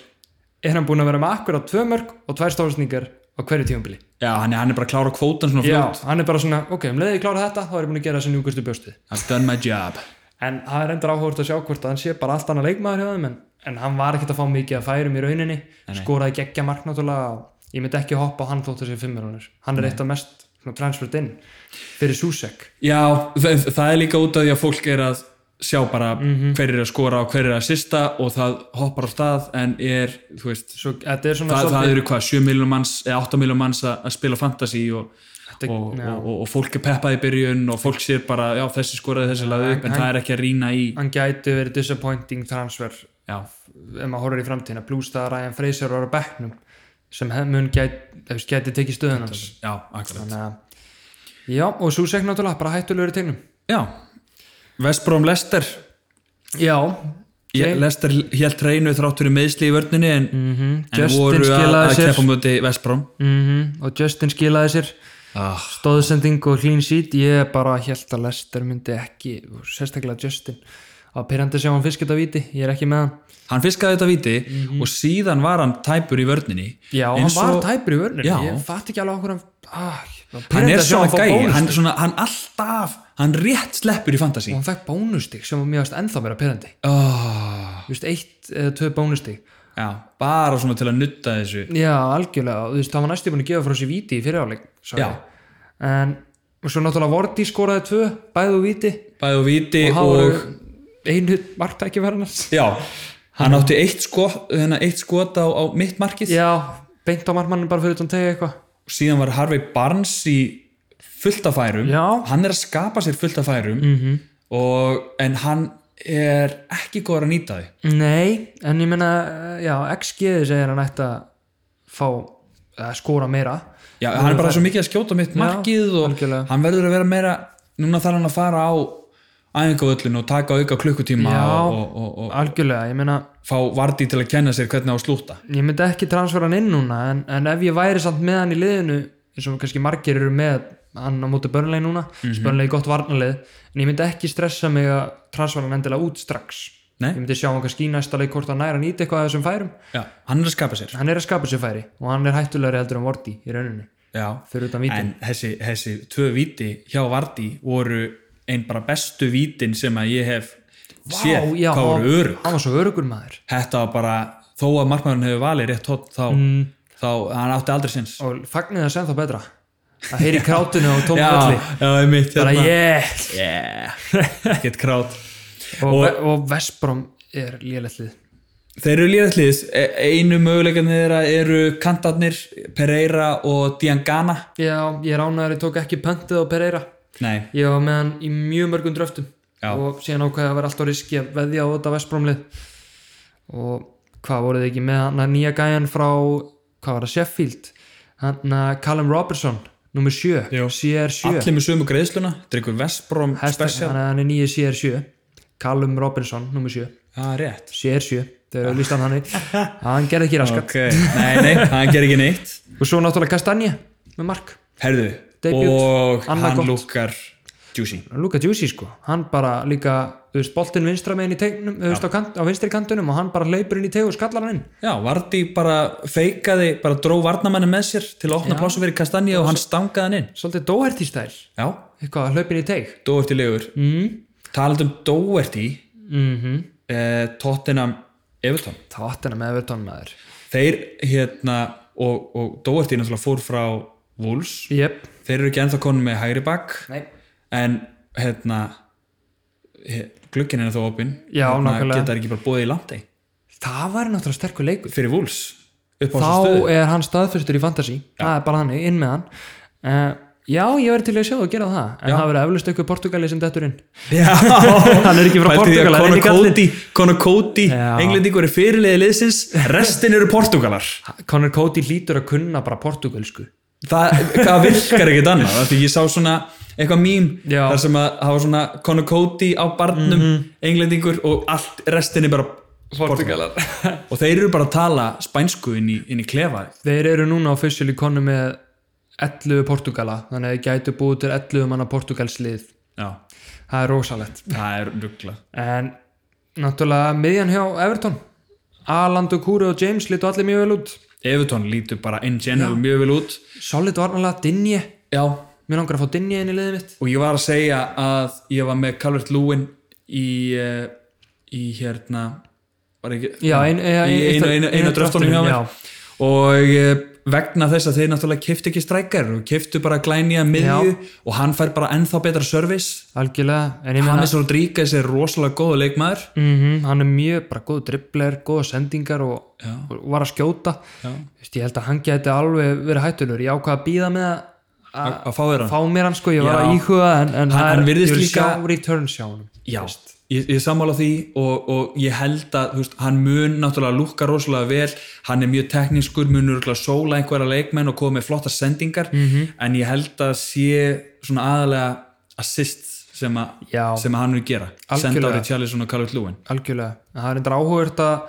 B: er hann búin að vera með akkur á tvö mörg og tvær stóðsningar á hverju tímabili
A: Já, hann er, hann er bara að klára kvótan svona
B: já,
A: fljótt
B: hann er bara svona, ok, um leiði ég klára þetta þá er ég búin að gera þessi njúkastu bjóstið
A: I've done my job
B: en það er endur áhugast að sjá hvort að hann sé bara allt annað leikmaður hjá þeim en, en hann var ekkert að fá mikið að færum í rauninni skoraði geggja mark náttúrulega og ég myndi ekki hoppa á hann þótt þessi fimmurunir hann er eitt af mest svona, transfert inn fyrir Susek
A: Já, það, það er líka út af því að fólk er að sjá bara
B: Mhm.
A: hver er að skora og hver er að sista og það hoppar á stað en er, þú veist
B: Svo, þetta er svona
A: það, það
B: svolítið-
A: eru hvað, 7 miljónum manns eða 8 miljónum manns að, að spila fantasy og,
B: Þetta-
A: og,
B: já.
A: og, og, og fólk er peppað í byrjun og fólk sér bara, já þessi skoraði þessi laði upp en það er ekki að rýna í
B: hann gæti verið disappointing transfer
A: já,
B: ef maður horfir í framtíðina plus það að Ryan Fraser var á bekknum sem hef- mun gæti, gæti tekið stöðun hans
A: já, akkurat
B: þannig að já og Susek náttúrulega bara hættulegur í tegnum
A: já, Vestbróm Lester
B: já
A: okay. Lester hélt reynu þrátt fyrir meðsli í vörninni en, en
B: Mhm. Justin
A: voru að,
B: skilaði
A: að
B: sér.
A: keppa á móti Vestbróm
B: mm og Justin skilaði sér
A: ah,
B: stóðsending og clean sheet ég bara held að Lester myndi ekki sérstaklega Justin á pyrrandi sem hann fiskit að viti, ég er ekki með hann
A: hann fiskaði þetta viti og síðan var hann tæpur í vörninni
B: Mhm. já,
A: Eins
B: hann var
A: og-
B: tæpur í vörnir
A: Já.
B: ég fatt ekki alveg okkur hann ah,
A: hann
B: pirrandi
A: er
B: að sjá
A: svona
B: fá
A: gæi,
B: bónus.
A: hann, er svona, hann alltaf hann rétt sleppur í fantasy
B: og hann fekk bónustig sem var mjögast ennþá meira pyrrandi
A: oh.
B: Þú veist, eitt eða tvö bónustig
A: Já, bara svona til að nutta þessu
B: já, algjörlega, og þú veist, það var næstu búin að gefa frá sér víti í fyriráleik
A: Já.
B: en og svo náttúrulega Vorti skoraði tvö bæðu víti
A: bæði og viti
B: og það
A: og,
B: voru einu marktæki verðarnas
A: já, hann átti eitt skot, hérna, eitt skot á, á mitt markið
B: já, beint á markmannin bara fyrir utan tegi eitthvað
A: og síðan var Harvey Barnes í fullt af færum
B: Já. Mhm.
A: hann er að skapa sér fullt af færum -hmm. og, en hann er ekki góður að nýta þau
B: nei, en ég meina já, XG segir hann ætti að fá að skora meira
A: já, hann er bara svo mikið að skjóta á mitt markið og
B: algjörlega.
A: hann verður að vera meira núna þarf hann að fara á æfingavöllin og taka auka klukkutíma
B: Já.
A: og, og, og, og
B: algjörlega, ég meina
A: fá Vardí til að kenna sér hvernig á að slúta
B: ég myndi ekki transfera hann inn núna en, en ef ég væri samt með hann í liðinu eins og kannski margir eru með hann á móti börnlegi núna, mm
A: Mhm.
B: -hmm. börnlegi gott varnalið en ég myndi ekki stressa mig að transfera hann endilega út strax
A: Nei.
B: ég myndi sjá hann kannski í næsta leik hvort hann næra nýta eitthvað af þessum færum,
A: já, hann er að skapa sér
B: hann er að skapa sér færi og hann er hættulegri heldur en Vorti í rauninni
A: já,
B: fyrir utan vítin,
A: en þessi, þessi tvö víti hjá Vardí voru ein bara bestu vítin sem að ég hef séð,
B: já,
A: hvað voru
B: og-
A: örug
B: hann var svo örugur maður
A: þetta var bara, þó að markmaðurinn hefur valið rétt hótt þá,
B: Mm.
A: þá hann átti aldrei sinns
B: og fagnir það sem þá betra að heyri krátinu og tóma
A: já, Hérna.
B: öllu
A: já, einmitt
B: bara
A: hérna.
B: yes
A: yeah, get krát
B: og, og, og Vestbrom er lélætlið
A: Þeir eru líðalliðis, einu möguleikarnir þeirra eru kantarnir, Pereira og Diangana.
B: Já, ég er ánæður, ég tók ekki pöntið á Pereira
A: Nei,
B: ég var með hann í mjög mörgum dröftum
A: Já.
B: og síðan ákvæði að vera alltaf riski að veðja á þetta Vestbromlið og hvað voruð þið ekki með hann að nýja gæjan frá, hvað var það, Sheffield hann að Callum Robertson nummer 7,
A: Jú.
B: CR7
A: allir með sömu greiðsluna, drikkur Vestbrom
B: Hashtag-
A: special.
B: hann er- hann er nýja CR7 Callum Robertson nummer 7,
A: Það er Ah, rétt.
B: CR7 þegar við lístan hann í hann gerði ekki raskat
A: Ok, nei, nei, hann ger ekki neitt.
B: og svo náttúrulega Kastanje með mark
A: Herðu,
B: Debut,
A: og
B: annað
A: hann
B: gott.
A: lukkar Juicy.
B: Luka Juicy sko, hann bara líka þú veist, boltinn vinstra meginn í tegnum þú veist, á, kant, á vinstri kantunum og hann bara leipur inn í tegu og skallar hann inn
A: Já, Vardí bara feikaði, bara dró varnamennin með sér til að opna plásu fyrir Kastanje og hann stangaði hann inn.
B: svolítið Doherty stæl,
A: Já,
B: eitthvað að hlaupin í teg
A: Dóerti legur.
B: mm.
A: Talandi um Dóerti,
B: mm -hmm.
A: eh, Tottenham Everton.
B: Tottenham Everton maður
A: þeir hérna og, og Doherty náttúrulega fór frá Wolves,
B: Jep,
A: þeir eru ekki ennþá konum með hægri bakk
B: nei
A: en hérna he- glugginn er þó opinn Hérna,
B: Já, nákvæmlega.
A: geta þeir ekki bara bóðið í landi
B: Það væri náttúrulega sterkur leikur
A: fyrir Wolves upp á þessu
B: Þá
A: stöðu
B: er hann staðfyrstur í fantasy Það er bara þannig, inn með hann uh, Já, ég verði til að sjá og gera það En það verður eflaust eitthvað Portugali sem dettur inn Hann er ekki frá Portugal, hann er
A: Conor
B: ekki allir-
A: Cody, Conor Cody
B: Já.
A: englendingur er fyrirliði liðsins restin eru Portugalar
B: Conor Cody hlýtur að kunna bara portugalsku
A: það, það virkar ekkert annað af því ég sá svona eitthvað mím
B: Já.
A: þar sem að það var svona Conor Cody á barnum, englendingur og allt restin er bara Portugalar og þeir eru bara að tala spænsku inn í, inn í klefa
B: Þeir eru núna officially konu með 11 Portugala, þannig að þeir gætu búið til 11 manna Portugalslið.
A: Já,
B: Það er rosalegt.
A: það er ruggla
B: En náttúrulega miðjan hjá Everton. Aland og Kúri og James lítu allir mjög vel út.
A: Evertón lítur bara in general mjög vel út
B: Solid varnalega, Dinje.
A: Já,
B: Mér langar að fá Dinje inn í liðið mitt.
A: og ég var að segja að ég var með Calvert Lewin í, eh, í hérna var ekki
B: Já, ein-
A: í
B: ja, ein-
A: einu, einu, einu,
B: einu
A: dröftunum hjá
B: dröftunum,
A: mér
B: já.
A: og eh, vegna þess að þeir náttúrulega kiftu ekki strækjar og kiftu bara glænýja miðju og hann fær bara ennþá betra service
B: Algjörlega, en ég meina,
A: Hannes Rodríguez er rosalega góða leikmaður
B: mm hann er mjög bara góð dribbler, góða sendingar og, og var að skjóta. Vist, ég held að hann geti alveg verið hættulur. Ég ákvað að býða með að
A: að að fá þér hann
B: fá mér hann sko, ég var
A: Já.
B: að íhuga en, en
A: Hann-
B: það
A: hann
B: er-
A: virðist
B: ég vil
A: líka-
B: sjá return sjá hann
A: Já, ég, ég sammála því og, og ég held að þú veist, hann mun náttúrulega lúkka rosalega vel hann er mjög teknískur, mun örgulega sóla einhverja leikmenn og koma með flotta sendingar
B: Mhm.
A: -hmm. en ég held að sé svona aðalega assist sem, a,
B: Já.
A: sem að hann vil gera senda á
B: Algjörlega.
A: Richarlison og Calvert Lúin
B: algjörlega, en það er endur áhugavert að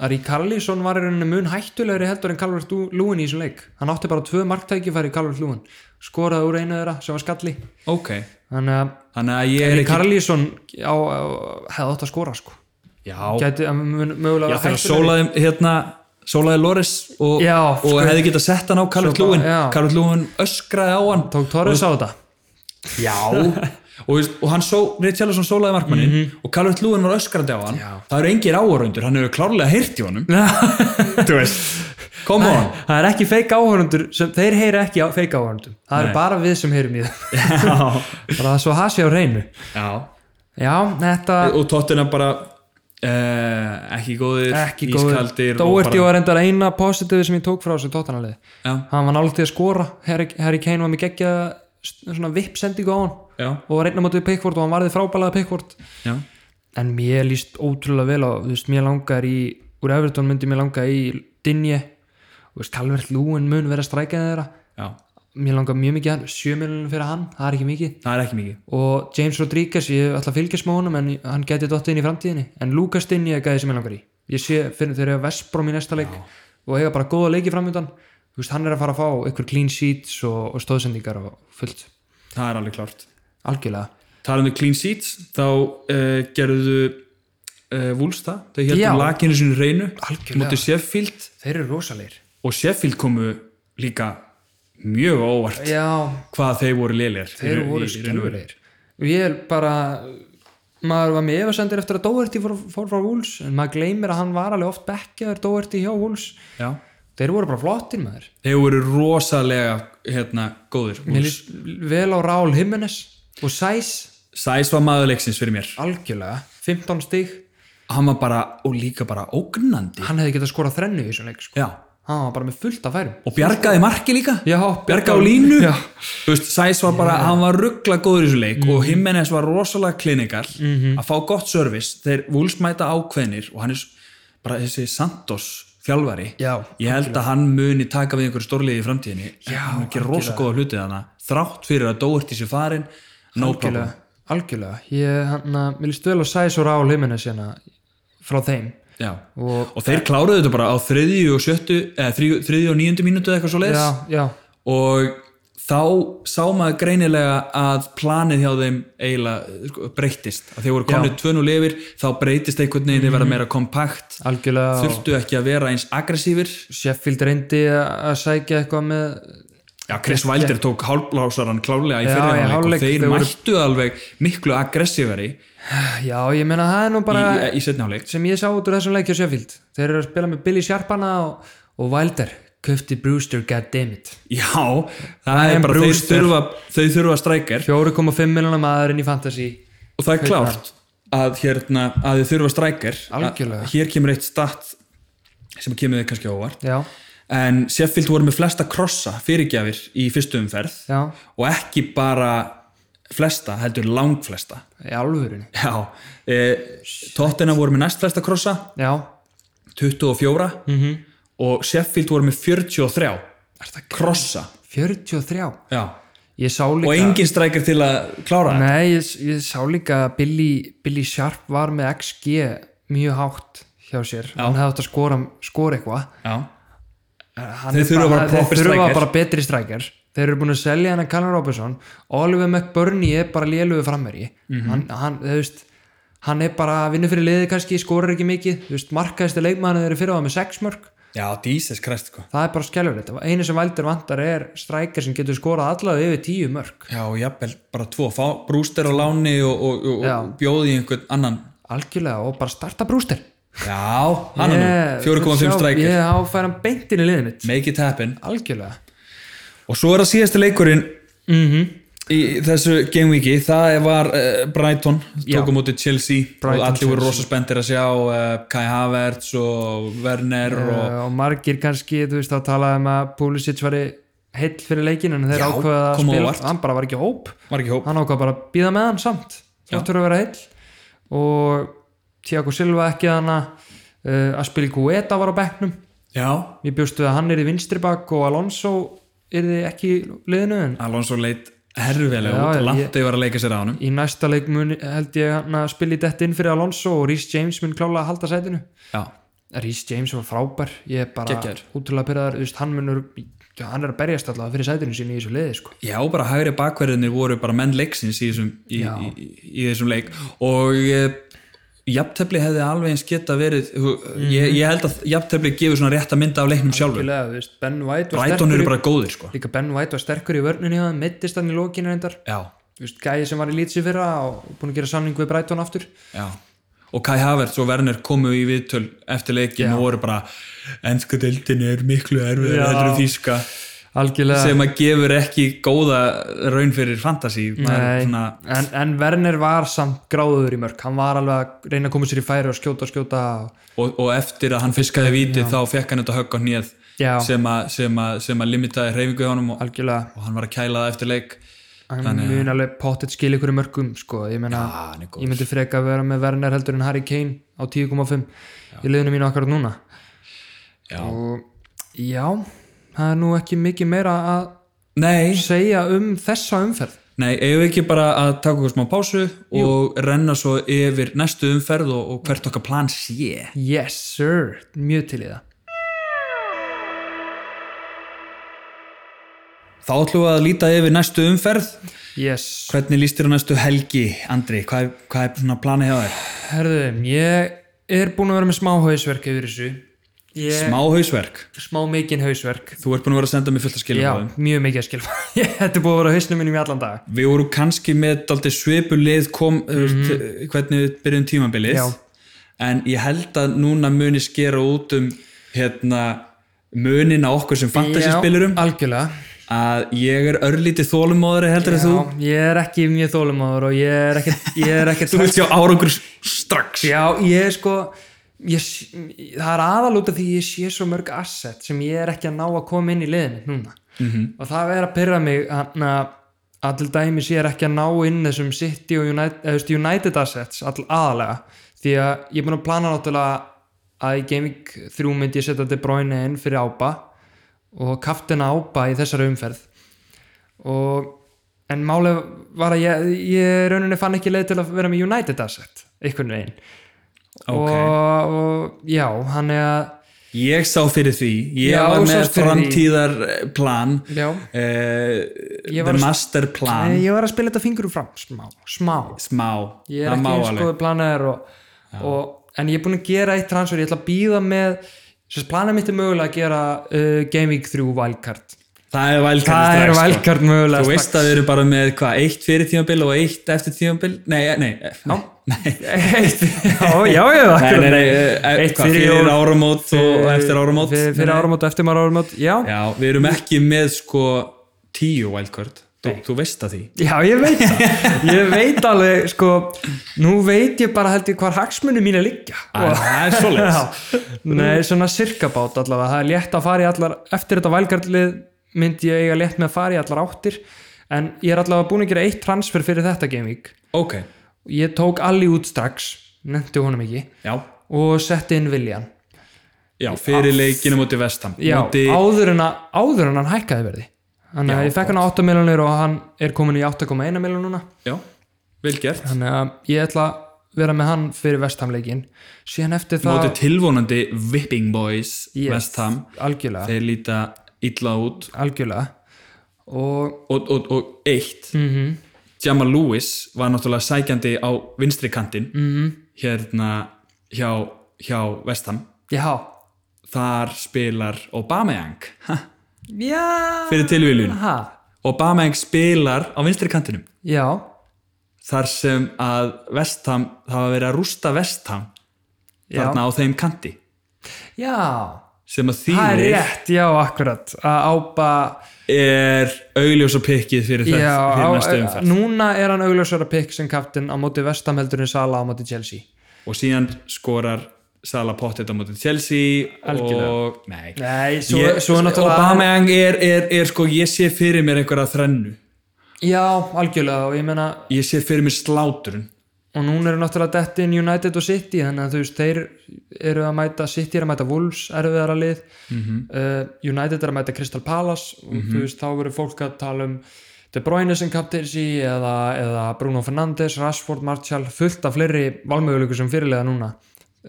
B: að Rík Karlísson var í rauninni mun hættulegri heldur en Calvert Lúin í þessum leik hann átti bara tvö marktækifæri í Calvert Lúin skoraði úr einu þeirra sem var skalli
A: Ok,
B: þannig að
A: þannig að ég er
B: Rík
A: ekki
B: Karlísson á, á, hefði átt að skora sko
A: Já,
B: gæti að mun mögulega
A: já
B: vera
A: þegar
B: hættulegri.
A: sólaði hérna sólaði Loris og,
B: Já,
A: og
B: sko.
A: hefði getað sett hann á Calvert
B: Svo bara-
A: Lúin
B: já.
A: Calvert Lúin öskraði á hann
B: tók Torres á þetta
A: Já Og, veist, og hann só, Richarlison sólaði markmannin og Calvert Lúin var öskrandi á hann
B: Já.
A: það eru engir áhörundur, hann hefur klárlega heyrt í honum þú veist come on
B: það er ekki feik áhörundur sem, þeir heyra ekki á, feik áhörundum það er bara við sem heyrum í það
A: já.
B: bara svo það sé á reynu já, þetta
A: og Tottenham bara uh, ekki góðir,
B: ekki
A: ískaldir og
B: góður Doherty
A: bara,
B: var endar eina positífi sem ég tók frá þessu tóttanalið
A: Já.
B: hann var náttúrulega að skora Harry, Harry Kane var mér geggja svona vippsendingu á hann
A: Já.
B: og var einna mótið pickvort og hann varði frábælega pickvort
A: já,
B: en mér líst ótrúlega vel á þú veist, mér langar í, úr Everton myndi mér langa í Dinje og veist, Calvert Lúin mun vera strækjaði þeirra
A: já,
B: mér langar mjög mikið í hann, 7 miljonum fyrir hann það er ekki mikið
A: það er ekki mikið
B: og James Rodriguez, ég ætla að fylgjast með honum en hann geti dottið inn í framtíðinni en Lucas Dinni er gæði sem ég langar í ég sé fyrir þeir eru Vestbrom í næsta leik og eiga bara góða leiki framöndan þú veist, hann er að fara að fá ykkur clean sheets og, og stóðsendingar og fullt
A: það er alveg klárt
B: algjörlega
A: talað um clean sheets þá uh, gerðu uh, Wolves það, þau
B: Já.
A: héldum lakinu sinni reynu
B: Algjörlega.
A: mótið Sheffield
B: þeir eru rosalegir
A: og Sheffield komu líka mjög á óvart
B: já,
A: hvað þeir voru lélir
B: þeir voru skilurlegir og ég er bara maður var með efasendir eftir að Doherty fór, fór frá Wolves en maður gleymir að hann var alveg oft bekkjaður Doherty hjá Wolves þeir voru bara flottir maður
A: þeir voru rosalega hérna, góðir
B: Mér líst vel á Raúl Jiménez og Sæs
A: Sæs var maður leiksins fyrir mér
B: algjörlega, 15 stig
A: hann var bara, og líka bara ógnandi
B: hann hefði getað skorað þrennu í þessum leik sko.
A: já,
B: hann var bara með fullt af færum
A: og bjargaði marki líka
B: já,
A: bjarga á línu
B: já, Mhm.
A: Þú veist, Sæs var bara, hann var ruggla góður í þessu leik og Jimenez var rosalega klinikal að fá gott service, þeir vúlsmæta ákveðnir og hann er s- bara þessi Santos þjálfari
B: Já,
A: ég held að hann muni taka við einhverju stórliði í framtíðinni já, hann gerir rosa góða hluti þannig þrátt fyrir að dóert í sér farin no problem
B: algjörlega, algjörlega. ég hann að, mér líst vel að sæs og rá limina sérna frá þeim
A: já.
B: og,
A: og þeir kláruðu þetta bara á þriðju og sjöttu eða þriðju, þriðju og níundu mínútu eða eitthvað svo leiðis
B: já, já,
A: og þá sá maður greinilega að planið hjá þeim eiginlega sko, breyttist að þeir voru komnið tvönu lifir þá breytist einhvern veginn, þeir verða meira kompakt
B: Mhm. algjörlega og
A: þurftu ekki að vera eins aggressífir
B: Sheffield reyndi að að sækja eitthvað með
A: já, Chris Wilder tók hálflásaran klálega í
B: Já, í
A: fyrirháleik og
B: hálfleik,
A: þeir
B: þeir voru-
A: mættu alveg miklu aggressífari
B: já, ég meina það er nú bara
A: í, í setnáleik
B: sem ég sá út úr þessum leikja Sheffield þeir eru að spila með Billy Sharpana og, og Wilder köfti Brewster, goddammit
A: já, það, er
B: Ryan
A: bara þeir
B: Brewster.
A: þurfa, þau þurfa strækir
B: 4,5 miljonar maðurinn í fantasy
A: og það er klárt að, hérna, að þið þurfa strækir
B: Algjörlega.
A: hér kemur eitt stat sem kemur þið kannski á óvart
B: já,
A: en Sheffield voru með flesta krossa fyrirgjafir í fyrstu umferð
B: já,
A: og ekki bara flesta, heldur langflesta
B: í alvörinni
A: já, e, Tottenham voru með næst flesta krossa
B: já,
A: 24 -hmm. og Sheffield voru með 43
B: Mhm. er það
A: krossa
B: 43
A: já.
B: ég sá
A: og
B: líka
A: engin strækir til að klára þetta.
B: nei, ég, ég sá líka að Billy, Billy Sharp var með XG mjög hátt hjá sér hann hefði átt að skora, skora eitthvað
A: já.
B: Hann
A: Þeir
B: er
A: þurfa bara proper
B: þeir þurfa
A: striker.
B: bara betri strækjar þeir eru búin að selja hann að Callum Robinson Oliver McBurney er bara lélugu frammeri hann, hann, þú veist hann er bara að vinna fyrir liðið kannski skorar ekki mikið, þú veist, markaðist er leikmann þeir eru fyrir á það með 6 mörg,
A: já, Jesus Christ sko.
B: það er bara skelfilegt einu sem Valdur vantar er strækjar sem getur skorað allavega yfir 10 mörg
A: já, jafnvel, bara tvo, fá brúster á láni og, og, og,
B: Já.
A: og bjóði einhvern annan
B: algjörlega og bara starta brúster
A: já, hann yeah,
B: Ég-
A: 4,5
B: sjá-
A: strækir
B: ég áfæra hann beintin í liðið mitt
A: make it happen
B: algjörlega
A: Og svo er það síðasti leikurinn
B: mm
A: í þessu gameweeki, það var uh, Brighton,
B: Já.
A: tók á móti Chelsea
B: Brighton,
A: og allir voru
B: Chelsea.
A: rosa spendir að sjá uh, Kai Havertz og Werner og
B: Eh, og margir kannski, þú veist, þá talaði um að Pulisic var heill fyrir leikin en þeir
A: Já,
B: ákvaða að
A: kom á
B: spila,
A: óvart.
B: hann bara var ekki í hóp
A: var ekki hóp.
B: hann ákvaða bara að býða með hann samt þáttur að vera heill og Tiago Silva ekki þannig uh, að spila Guetta var á bekknum
A: Já.
B: ég bjóstu að hann er í vinstri bakk og Alonso er ekki í liðinu en
A: Alonso leit herfilega
B: Já,
A: út,
B: ég-
A: langt yfir að leika sér á hann.
B: í næsta leik mun, held ég hann að spila í dett inn fyrir Alonso og Rhys James mun klála að halda sætinu
A: Já.
B: Rhys James var frábær ég er bara
A: Geggjaður.
B: útrúlega pyrraðar hann, munur, já, hann er að berjast allavega fyrir sætinu sín í þessu liði sko.
A: Já, bara hægri bakverðinni voru bara menn leiksins í þessum, í,
B: Já.
A: í, í, í þessum leik og uh, jafntefli hefði alveg eins geta verið,
B: Mhm.
A: ég, ég held að jafntefli gefur svona rétt að mynda af leiknum sjálfur.
B: Algjörlega, þú veist, Ben White var
A: Brighton
B: sterkur
A: eru
B: í,
A: bara góðir sko.
B: líka Ben White var sterkur í vörnunni hann mittist hann í lókinu reyndar
A: Já.
B: Þú veist, gæði sem var í lítsi fyrra og búin að gera samning við Brighton aftur
A: Já. Og Kai Havertz og Werner komu í viðtöl eftir leikin og voru bara ennsku deildin er miklu erfið
B: Já.
A: heldur en þýska
B: algjörlega
A: sem að gefur ekki góða raun fyrir fantasy Maður er
B: Nei,
A: svona,
B: en, en Werner var samt gráður í mörg hann var alveg að reyna að koma sér í færi og skjóta og skjóta og...
A: og, og eftir að hann fiskaði vítið þá fekk hann þetta högg á hnið
B: Já,
A: sem, að- sem, að- sem að limitaði hreyfingu hjá honum og,
B: algjörlega
A: og hann var að kæla það eftir leik
B: hann mun alveg pottet skil ykkur í mörgum sko. ég meina
A: ah, hann er góð.
B: ég myndi freka að vera með Werner heldur en Harry Kane á 10,5 í liðinu mínu akkurat núna
A: Já.
B: og já það er nú ekki mikið meira að
A: Nei,
B: segja um þessa umferð
A: nei, eigum við ekki bara að taka okkur smá pásu og renna svo yfir næstu umferð og, og hvert okkar plan sé
B: yes sir, mjög til í það
A: Þá ætlum við að líta yfir næstu umferð
B: yes,
A: Hvernig líst þér á næstu helgi, Andri? Hvað, hvað er svona planið hjá þér?
B: herðu, ég er búin að vera með smá hausverk yfir þessu ég,
A: Smá hausverk.
B: smá, mikinn hausverk
A: Þú ert búin að vera að senda mér fullt að
B: já,
A: skilja það.
B: mjög mikið að skilfa þetta er búin að vera á hausnum mínum í allan dag
A: Við vorum kannski með daldið svipulið kom, mm veist, hvernig við byrjum tímabilið.
B: Mhm. Já.
A: En ég held að núna muni skera út um hérna munin á okkur sem
B: Já,
A: fantasyspilurum
B: algjörlega
A: að ég er örlítið þólumóðari heldur en þú
B: Já, ég er ekki mjög þólumáður og ég er ekkert, ég er ekkert
A: þú vilt sjá árangur strax
B: Já, ég er sko ég, s- það er aðalúta því ég sé svo mörg asset sem ég er ekki að ná að koma inn í liðinu núna -hmm. og það er að pyrra mig hann að all dæmis ég er ekki að ná inn þessum City og United, eða, þú veist, United assets all aðalega því að ég er búin að plana náttúrulega að í Game Week 3 myndi ég setja De Bruyne inn fyrir Ába og kaftina Ába í þessari umferð og en málið var að ég, ég í rauninni fann ekki leið til að vera með United asset einhvern veginn
A: Ok.
B: og, og já, hann er að
A: ég sá fyrir því ég
B: Já,
A: var með
B: sást fyrir
A: framtíðar eh, plan
B: já,
A: eh,
B: Ég
A: the
B: var að-
A: master plan
B: ég var að spila þetta fingur úr fram smá, smá
A: smá,
B: ég er
A: það má
B: ekki sko. eins
A: alveg
B: góður planaðar og, og, en ég er búin að gera eitt transfer ég ætla að býða með sérst, planað mitt er mögulega að gera uh, Gaming 3 wildcard
A: það er sko. vælkart
B: það er wildcard mögulega
A: þú veist
B: strax.
A: að þau eru bara með hvað, eitt fyrir tímabil og eitt eftir tímabil nei, nei, nei, nei.
B: eitt, já, já, já
A: Nei, nei, nei, eh,
B: Eitt
A: hvað,
B: fyrir
A: fyrir,
B: jól.
A: áramót og eftir áramót
B: fyrir, fyrir
A: Nei, nei.
B: áramót og eftir maður áramót já,
A: já, við erum ekki með sko tíu wildcard þú, þú veist að því
B: já ég veit það ég veit alveg, sko nú veit ég bara held ég hvar hagsmunni mín er liggja
A: Æ, það er svoleiðis
B: Já, nei, svona sirkabát allavega, það er létt að fara í allar eftir þetta vælgarlið myndi ég eiga létt með að fara í allar áttir en ég er allavega búin að gera eitt transfer fyrir þetta gamevík,
A: ok,
B: ég tók allir út strax nefndi honum ekki
A: já,
B: og setti inn Viljan
A: já fyrir leikinu múti vestam
B: Já,
A: múti,
B: áður, en að, áður en hann hækkaði verði þannig
A: Já,
B: að ég fekk hann á 8 miljonir og hann er komin í 8,1 miljón núna
A: já, vel gert
B: þannig að ég ætla að vera með hann fyrir vestamleikin síðan eftir það
A: múti tilvonandi Whipping Boys
B: Yes,
A: vestam,
B: algjörlega,
A: þeir líta illa út
B: algjörlega og
A: og, og, og eitt mm
B: Mhm.
A: -hmm. Jamal Lewis var náttúrulega sækjandi á vinstri kantinn
B: Mhm.
A: -hmm. hérna hjá, hjá vestam
B: Já,
A: þar spilar Aubameyang ha,
B: já,
A: fyrir tilvílun
B: ha,
A: Aubameyang spilar á vinstri kantinum
B: já,
A: þar sem að vestam það var verið að rústa vestam
B: Já.
A: þarna á þeim kanti
B: já,
A: sem að
B: það er
A: þýðir er,
B: rétt, já, akkurat, að ápa,
A: er augljósa pikkið fyrir, það,
B: já,
A: fyrir næstu
B: á, eh,
A: umferð
B: núna er hann augljósara pikk sem kaptinn á móti vestam heldur en Sala á móti Chelsea.
A: og síðan skorar Sala Pottet á móti Chelsea
B: Algjörlega.
A: og nei,
B: Nei, svo,
A: Ég-
B: svo er náttúrulega,
A: Aubameyang er, er, er sko ég sé fyrir mér einhverja þrennu
B: já, algjörlega og ég meina,
A: ég sé fyrir mér sláturinn
B: og núna eru náttúrulega dettin United og City, þannig að þú veist, þeir eru að mæta, City eru að mæta Wolves, erfiðara lið, uh, United eru að mæta Crystal Palace og þú veist, þá verður fólk að tala um De Bruyne sem kapteinsi eða, eða Bruno Fernandes, Rashford, Martial, fullt af fleiri valmöguleikur sem fyrirlega núna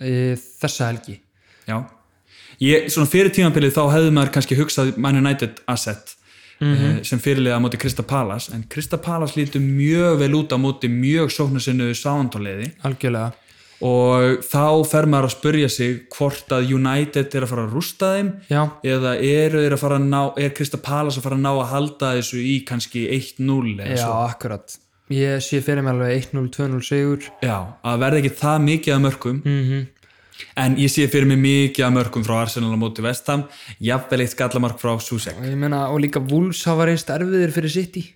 B: í þessa helgi.
A: já ég, svona fyrir tímabilið þá hefði maður kannski hugsað Man United asset mm
B: Mhm.
A: sem fyrirliða á móti Krista Palas en Krista Palas lítur mjög vel út á móti mjög sóknarsinnu sáhantóliði
B: Algjörlega.
A: og þá fer maður að spurja sig hvort að United er að fara að rústa þeim
B: Já,
A: eða eru þeir að fara að ná er Krista Palas að fara að ná að halda þessu í kannski 1-0 eða
B: já, akkurat. Ég sé fyrir mig alveg 1-0, 2-0 sigur.
A: Já, að verða ekki það mikið að mörgum
B: Mhm.
A: en ég sé fyrir mig mikið að mörgum frá Arsenal á móti vestam jafnvel eitt skallamark frá Susek
B: Og Ég meina, og líka Wolves hafa reynst erfiðir fyrir City.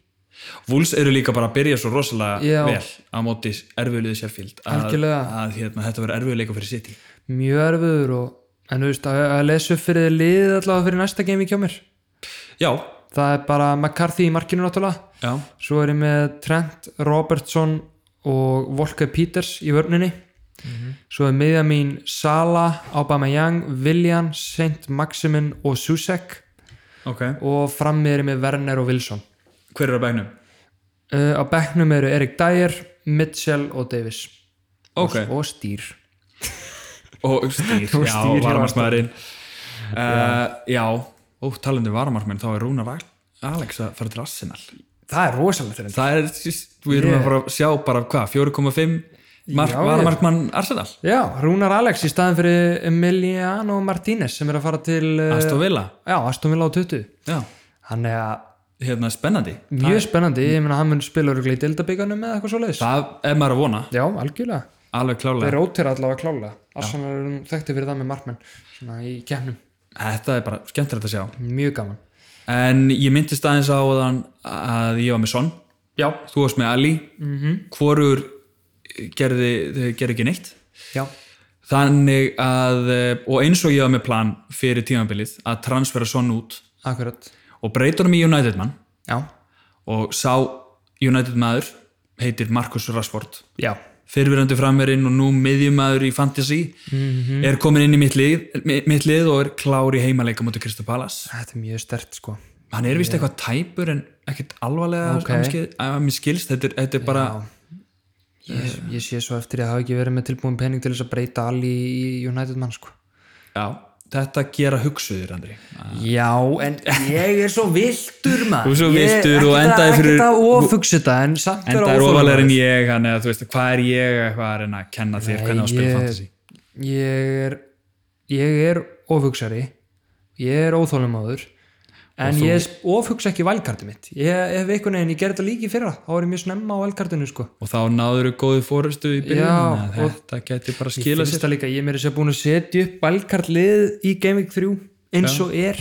A: Wolves eru líka bara að byrja svo rosalega
B: Já.
A: vel á móti erfiðliði sérfíld að,
B: Algjörlega.
A: að hérna, þetta verður erfiðleika fyrir City
B: mjög erfiður og en þú veist að, að lesa upp fyrir þið liðið allavega fyrir næsta game í kjá mér
A: Já,
B: það er bara McCarthy í markinu náttúrulega
A: já,
B: svo er ég með Trent, Robertson og Volker Peters í vörninni svo er miðja mín Sala, Aubameyang, William Saint Maximin og Susek
A: ok
B: og frammið er ég með Werner og Wilson
A: Hver er á bæknum?
B: uh, á bekknum eru Erik Dyer, Mitchell og Davis
A: Ok,
B: og, og Stýr
A: og stýr,
B: Og
A: já,
B: Stýr, já.
A: varamarsmaðurinn uh, Já, ó, talandi varamarsmaðurinn þá er Rúnar Al- Alex að fara til Arsenal
B: það er rosalegt þetta
A: Það er, við erum að fara að sjá bara hvað, 4,5 mark,
B: Já, ég-
A: varamarkmann Arsenal
B: Já, Rúnar Alex í staðin fyrir Emiliano Martínez sem er að fara til eh,
A: Aston Villa,
B: Já, Aston Villa á 20
A: já,
B: Hann er að
A: hérna spennandi
B: mjög spennandi, ég meina hann mun spila örugglega í deildabíkanum eða eitthvað svoleiðis
A: það er maður að vona,
B: Já, algjörlega,
A: alveg
B: þeir
A: klálega
B: rótera allavega klálega Arsenal eru nú þekkti fyrir það með markmenn svona í kemnum,
A: þetta er bara skemmtilegt að sjá
B: mjög gaman
A: en ég myndist aðeins á þann að ég var með Son
B: já, Mhm.
A: þú varst með Ali mm -hmm. hvorur gerði, þau gerði ekki neitt
B: já,
A: þannig að eh, og eins og ég var með plan fyrir tímabilið að transfera Son út
B: akkurat
A: og breyta honum í United mann
B: já,
A: og sá United maður heitir Marcus Rashford
B: já,
A: fyrirverandi framverinn og nú miðjumæður í fantasy
B: Mhm.
A: er komin inn í mitt lið, mi- mitt lið og er klár í heimaleika mútið Kristof Palas
B: þetta er mjög stert sko
A: hann er vist eitthvað tæpur en ekkert alvarlega
B: Ok.
A: okay. að mér skilst þetta er, þetta er bara
B: ég, ég sé svo eftir að hafa ekki verið með tilbúin pening til þess að breyta allir í United mann sko
A: já, þetta gera hugsuðir Andri
B: Já, en ég er svo viltur maður
A: Þú ert svo
B: Ég-
A: villtur og
B: ekkert að-
A: endaði fyrir-
B: Ekkert að ofugsa þetta, en samt
A: en
B: vera
A: það er
B: óþolinmóður.
A: ofalega en ég hann eða þú veist hvað er ég eitthvað að reyna að kenna þér hvernig á að spila
B: ég,
A: fantasy
B: Ég er Ég er ofugsari Ég er óþólumáður En ég ofugsa ekki valkartu mitt Ég hef einhvern veginn, ég gerði þetta líki fyrra Þá var ég mjög snemma á valkartinu sko
A: og þá náður þau góðu fórustu í
B: Já,
A: byrjun
B: og-
A: þetta gæti bara
B: Ég
A: skila
B: finnst það líka, ég er meira sér búin að setja upp valkartlið í Game Week 3 eins og er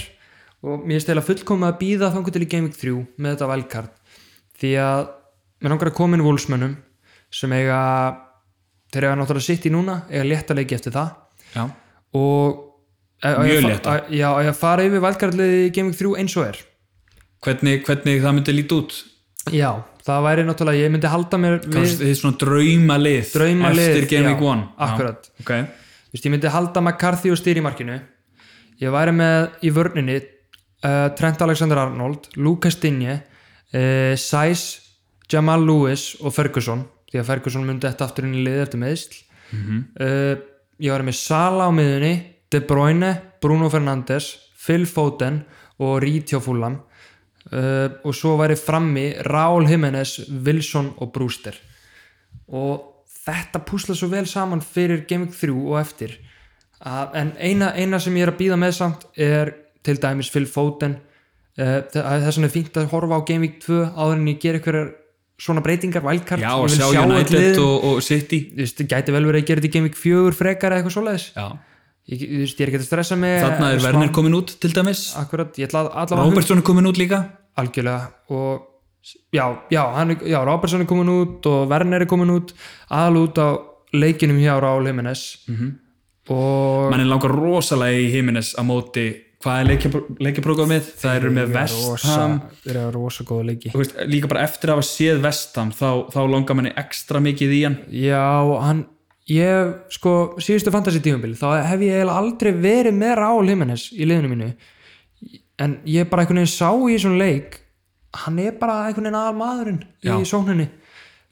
B: og mér er stæla fullkomið að býða þangur til í Game Week 3 með þetta valkart því að mér langar að koma inn vúlsmönnum sem eiga þeir eiga náttúrulega sitt í núna eiga létta leiki eftir það
A: já,
B: og e, á- á
A: Mjög
B: ég að fa-
A: létta.
B: á- Já, á ég að fara yfir valkartliðið í Game Week 3 eins og er
A: hvernig, hvernig það myndi líti út
B: Já, það væri náttúrulega, ég myndi halda mér
A: Kannski þið er svona draumalið
B: Draumalið,
A: eftir Game
B: já,
A: Week 1
B: akkurat.
A: já, ok.
B: Þú veist, ég myndi halda McCarthy og stýri í markinu ég væri með í vörninni uh, Trent Alexander-Arnold Lucas Digne uh, Sæs, Jamal Lewis og Ferguson, því að Ferguson myndi þetta aftur inn í liði eftir meðsl uh, ég væri með Sala á miðunni De Bruyne, Bruno Fernandes Phil Foden og Rítjá Fúlam uh, og svo væri frammi Raúl Jiménez Wilson og Brewster og þetta púsla svo vel saman fyrir Game Week 3 og eftir uh, en eina, eina sem ég er að býða með samt er til dæmis Phil Foden uh, þess vegna er fínt að horfa á Game Week 2 áður en ég ger einhverjar svona breytingar valkart,
A: já,
B: ég
A: og
B: vil
A: sjá
B: sjá öll liðin.
A: United og, og City
B: Þú veist, það gæti vel verið að gera þetta í Game Week 4 frekar eða eitthvað svoleiðis
A: já.
B: ég, þú veist, ég er ekki að stressa mig eh,
A: þarna er Werner komin út til dæmis
B: akkurat, ég ætla að- allavega
A: Robertson er komin út líka
B: algjörlega og já, já, hann, er- já, Robertson er komin út og Werner er komin út aðal út á leikinum hjá Raúl Jiménez
A: Mhm.
B: -hmm. og
A: mann er langar rosalega í Jimenez á móti hvað er leikjaprógramið það eru með West Ham
B: það er rosa góða leiki
A: Þú veist, líka bara eftir að hafa séð West Ham þá, þá langar manni ekstra mikið í hann
B: já, hann ég, sko, síðustu fantasy tímumbil þá hef ég eiginlega aldrei verið með Raúl Jiménez í liðinu mínu en ég bara einhvern veginn sá í þessum leik hann er bara einhvern veginn aðal maðurinn í sókninni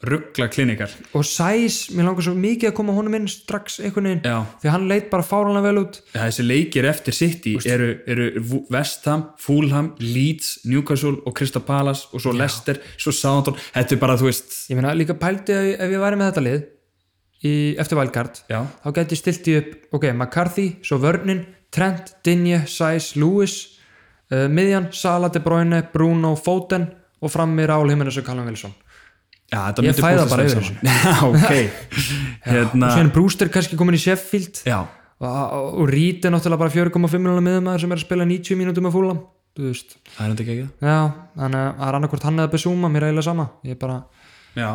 A: ruggla klinikar
B: og Sæs, mér langar svo mikið að koma honum inn strax einhvern veginn
A: Já.
B: því hann leit bara fáranlega vel út
A: Ja, þessi leikir eftir City eru, eru Wu- West Ham, Fulham, Leeds Newcastle og Crystal Palace og svo Leicester, svo Southampton þetta er bara, þú veist
B: ég meina líka pældi ef, ef ég væri með þetta lið í, eftir valkart
A: já,
B: þá gæti ég stilti upp ok, McCarthy, svo Vörnin, Trent, Dinje Sæs, Lewis uh, Miðjan, Sala, De Bruyne, Bruno Foden og frammi Raúl Jimenez og Callum Wilson
A: já þetta
B: Ég
A: myndi
B: fæ það
A: púslast
B: bara
A: vel
B: yfir
A: saman. já, ok hérna,
B: og sér Brewster kannski komin í Sheffield
A: já,
B: og, og, og Reed er náttúrulega bara 4,5 miljonar miðumæður sem er að spila 90 mínútur með fúlam þú veist
A: það er þetta ekki ekki
B: Já, þannig að það er annarkvort hann eða Besúma, mér er eiginlega sama ég bara...
A: já,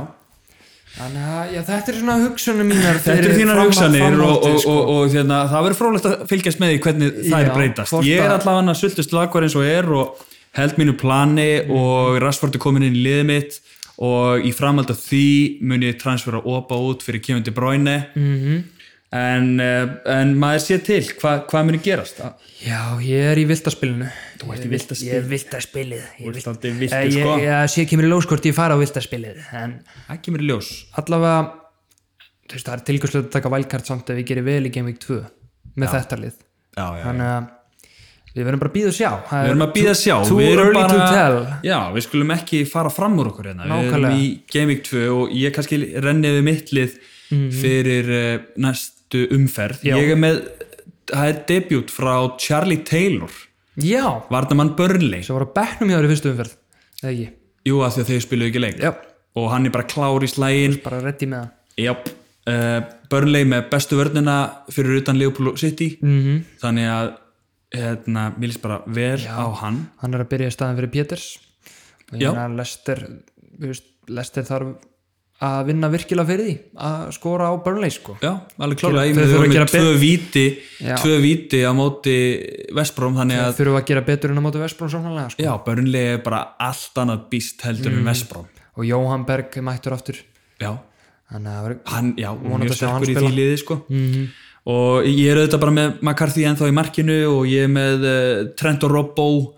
B: Þannig að já, þetta er svona hugsunum mínar
A: þetta
B: fyrir
A: eru þínar
B: fram-
A: hugsanir og,
B: framhaldið,
A: og,
B: sko.
A: og, og hérna, það verður frólægt að fylgjast með því hvernig þær
B: Já,
A: breytast
B: hvort
A: ég er
B: að-
A: allavega hann að sultust lagvar eins og er og held mínu plani
B: Mm.
A: og Rashford er komin inn í liðið mitt og í framhald af því mun ég transfera opa út fyrir kemur til bráinu
B: Mhm.
A: en, eh, en maður sé til hva, hvað muni gerast
B: Já, ég er í viltaspilinu
A: Þú ert í vildaspil.
B: Ég er viltaspilið Ég,
A: ert aldrei viltur,
B: Eh,
A: sko.
B: ég, ég sé ekki mér í lóskort ég fara á viltaspilið en
A: það kemur í ljós
B: allavega þú veist, það er tilgjörslega að taka valkart samt ef við gerir vel í Game Week 2 með þetta lið
A: já, já,
B: Þannig að við verðum bara að býða og sjá
A: Við erum að býða að sjá
B: Too
A: Við erum
B: early
A: bara,
B: to tell
A: Já, við skulum ekki fara fram úr okkur hérna Við erum
B: Nákvæmlega.
A: í Game Week 2 og ég kannski renni við mitt lið fyrir uh, næstu umferð
B: Mhm. Já.
A: Ég er með, það er debut frá Charlie Taylor
B: Já,
A: Vardamann Burnley
B: sem var að bekknum hjá þér í fyrstu umferð eða ekki,
A: Jú, af því að þeir spiluðu ekki leik
B: Já.
A: Og hann er bara klár í eh, slægin
B: bara reddi með hann
A: Jáp
B: Mhm.
A: Uh, Burnley með bestu vörnina fyrir utan Liverpool og City -hmm. þannig að hérna, mér líst bara vel á hann
B: hann er að byrja í staðin fyrir Péters og
A: Já.
B: ég meina Lester þú veist, Lester þarf að vinna virkilega fyrir því að skora á Burnley sko
A: Já, alveg klálega, ég
B: Þau
A: með þau
B: þurfa að
A: voru með
B: gera
A: tvö víti
B: Já.
A: tvö víti á móti Vestbróm, þannig
B: ja.
A: að
B: þurfa að gera betur en á móti Vestbrón samfélaga sko.
A: já, Burnley er bara allt annað býst heldur
B: Mm.
A: en Vestbróm
B: og Jóhann Berg er mættur aftur
A: Já,
B: þannig að það verður-
A: hann, já,
B: Vonandi
A: mjög
B: að sjá hann
A: sterkur í því
B: spila. Mhm.
A: liði sko og ég er auðvitað bara með McCarthy ennþá í markinu og ég er með uh, Trent og Robbo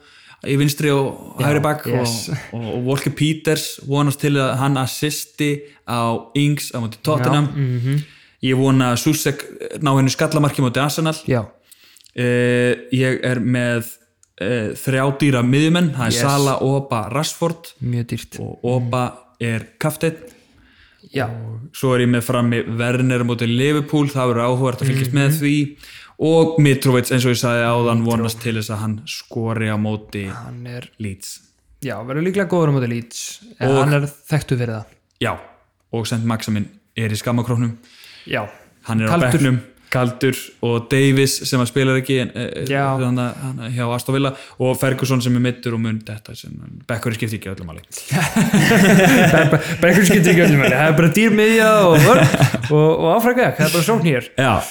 A: í vinstri og hægri bakk
B: yes.
A: og, og, og Walker Peters vonast til að hann assisti á Ings á móti Tottenham
B: mhm.
A: ég vona að Susek ná henni skallamarki móti Arsenal
B: já,
A: uh, ég er með uh, þrjá dýra miðjumenn, það er
B: Yes.
A: Sala, Opa, Rashford
B: mjög dýrt
A: og Opa er kaftin
B: já,
A: svo er ég með frammi Werner mútið Liverpool, það verður áhugart að fylgjast með því og Mitrovic eins og ég sagði áðan vonast til þess að hann skori á móti
B: hann er
A: Leeds
B: já, verður líklega góður á móti Leeds en
A: Og-
B: hann er þekktu fyrir það
A: já, og sent Maximin er í skammakrónum
B: já,
A: hann er á
B: Kaldur.
A: bekknum, kaldur og Davis sem að spilar ekki en, e,
B: Já.
A: hann, hann, eh, hjá Aston Villa og Ferguson sem er mittur og mun þetta sem bekkur skiptir ekki öllum alveg
B: bara einhvern skiptir ekki öllum henni það er bara dýr miðja og vörn og, og áfrækja, það er bara sókn hér
A: já,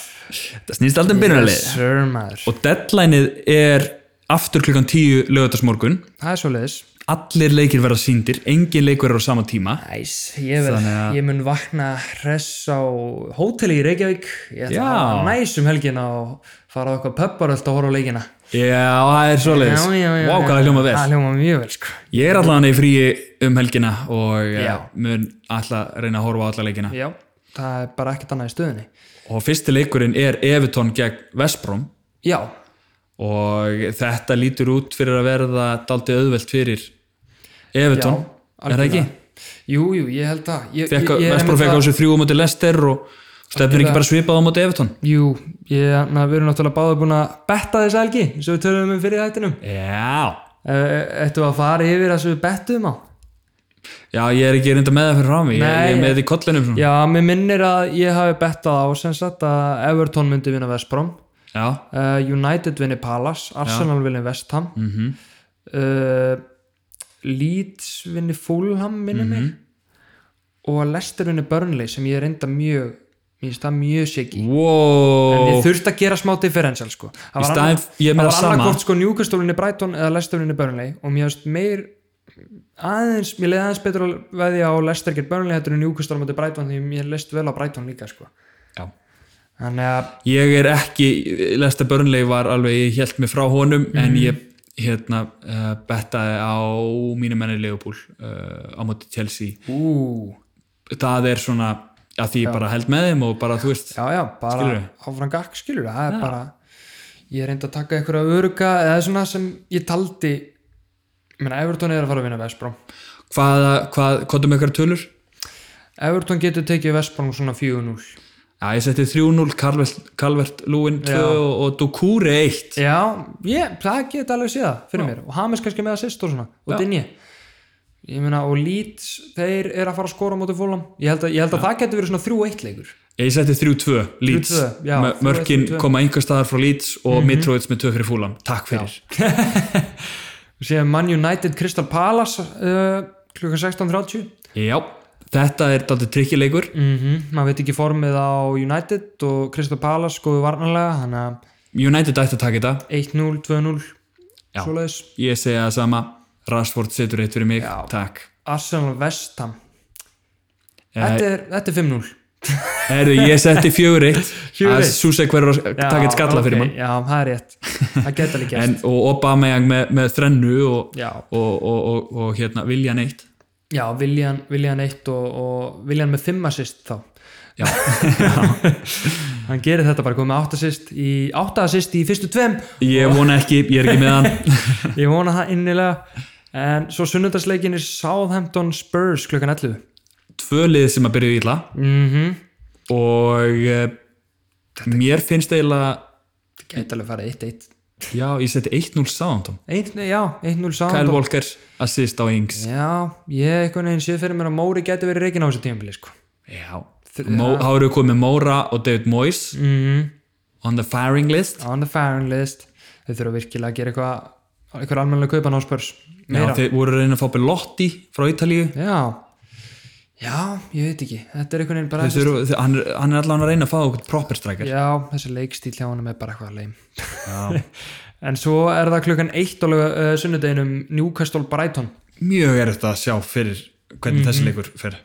A: það snýst aldrei um byrjunarlið
B: Yes, sir, maður.
A: og deadlineið er aftur klukkan 10 lögatarsmorgun
B: það er svoleiðis
A: allir leikir verða síndir, engin leikur er á sama tíma
B: Næs, ég, vel,
A: Þannig að-
B: ég mun vakna hress á hóteli í Reykjavík ég ætla
A: Já.
B: að hafa næs um helgina og fara á eitthvað pöpparöld og horfa á leikina
A: Já, það er svoleiðis Vá, hvað það hljóma vel
B: Það hljóma mjög vel sko
A: Ég er allan í fríi um helgina og eh,
B: Já.
A: mun alltaf reyna að horfa á alla leikina
B: Já, það er bara ekkert annað í stöðinni
A: og fyrsti leikurinn er Evertón gegn Vestbrom
B: Já,
A: og þetta lítur út fyrir að verða daldið auðvelt fyrir Evertón,
B: Já,
A: er það ekki?
B: jú, jú, ég held það ég,
A: Fekka,
B: ég, ég er
A: Vestbrom
B: einmitt
A: fekk á
B: að-
A: þessu þrjú á móti Lester og stefnir ekki bara svipað á móti Evertón
B: Jú, ég, na, við erum náttúrulega báður búin að betta þessa helgi sem við töluðum um fyrir þættinum Eh,
A: Já
B: Ættu að fara yfir það sem við bettum á
A: Já, ég er ekki reynda með það fyrir rámi, ég,
B: Nei,
A: ég er með
B: ég-
A: þetta í kollinum svona.
B: Já, mér minnir að ég hafi bettað á sem sagt að Everton myndi vinna Vestbrom
A: Já,
B: uh, United vinni Palace Arsenal vinni West Ham mm -hmm. uh, Leeds vinni Fulham minni mig og Leicester vinni Burnley sem ég er enda mjög mér finnst það mjög segi en
A: wow
B: ég þurfti að gera smá differential sko. það
A: Í staðinn-
B: annað-
A: ég er með það
B: það var
A: sama.
B: annarkort sko Newcastle vinni Brighton eða Leicester vinni Burnley og mér finnst meir aðeins, mér leiði aðeins betur að veðja á Leicester gerð Burnley þetta er Newcastle á móti Brighton því mér leist vel á Brighton líka sko.
A: Já
B: þannig að
A: ég er ekki, Lester Burnley var alveg, ég held mig frá honum en
B: Mhm.
A: ég hérna uh, bettaði á mínu menni Leopold uh, á móti Chelsea
B: úúú
A: það er svona, að því ég bara held með þeim og bara þú veist,
B: já, já, bara
A: Skilurðu?
B: áfram gakk skilur það er bara ég reyndi að taka einhverja öruga eða svona sem ég taldi ég meina Everton er að fara að vinna Vestbrom
A: hvaða, hvað, hvað um eitthvað tölur?
B: Everton getur tekið Vestbrom svona 4-0
A: Já, ég setti 3-0, Calvert, Calvert Lúin 2 og, og Dukure 1
B: já, ég, það get alveg séð það fyrir mér og Hamis kannski með assist og svona og Dinje ég meina og Leeds, þeir eru að fara að skora á móti fólum ég held að, ég held að það getur verið svona 3-1 leikur
A: ég setti 3-2 Leeds,
B: 3-2, já,
A: Mö-
B: 3-2.
A: mörkin koma einhver staðar frá Leeds og mm
B: Mhm.
A: -hmm. Mitrovic með 2 fyrir fúlam, takk fyrir
B: síðan Man United Crystal Palace uh, klukkan 16.30
A: Já, þetta er dálítið tryggilegur
B: mm
A: Mhm.
B: maður veit ekki formið á United og Crystal Palace skoðu varnalega hann að
A: United ætti að taka þetta
B: 1-0, 2-0
A: Já.
B: svoleiðis
A: Ég segja það sama Rashford setur eitt fyrir mig, takk
B: Arsenal Vestham
A: Eh,
B: þetta er, þetta er 5-0
A: Herðu, Eh, ég setti fjögur eitt
B: Fjögur
A: að
B: eitt.
A: Susek verður að taka eitt skalla fyrir mann
B: já, það er rétt, það geta líka
A: en, og Obameyang með, með þrennu og,
B: já,
A: og, og, og, og hérna, vilja neitt
B: já Viljan, Viljan 1 og, og Viljan með 5 assist þá
A: Já.
B: hann gerir þetta bara komið 8 assist í 8 assist í fyrstu tveim
A: Ég vona ekki, ég er ekki með hann
B: ég vona það innilega en svo sunnundarsleikin er Southampton Spurs klukkan 11
A: Tvö lið sem að byrja ítla
B: mhm
A: og eh, mér finnst eiginlega
B: Það gæti alveg farið 1-1
A: já, ég setti 1-0 sáðan
B: Einn- Já, 1-0
A: Kyle
B: sáðan
A: Walker assist á Ings
B: Já, ég einhvern veginn sé fyrir mér að Móri gæti verið reikin á þessu tímafili sko.
A: Já, Mó, þá eru komið Móra og David Moyes
B: mm
A: on the firing list
B: On the firing list þau þurfa virkilega að gera eitthvað eitthvað almennilega kaupan á spörs
A: Já, þeir voru að reyna að fá Belotti frá Ítalíu
B: já, já, ég veit ekki þetta er einhvern veginn bara
A: Þeir þurfa- þeir- hann, er- hann er allan að reyna að fá okkur proper striker
B: já, þessi leikstíl hjá honum er bara eitthvað leim en svo er það klukkan eitt á lög- uh, sunnudeginum Newcastle Brighton
A: mjög er þetta að sjá fyrir hvernig
B: Mhm.
A: þessi leikur fyrir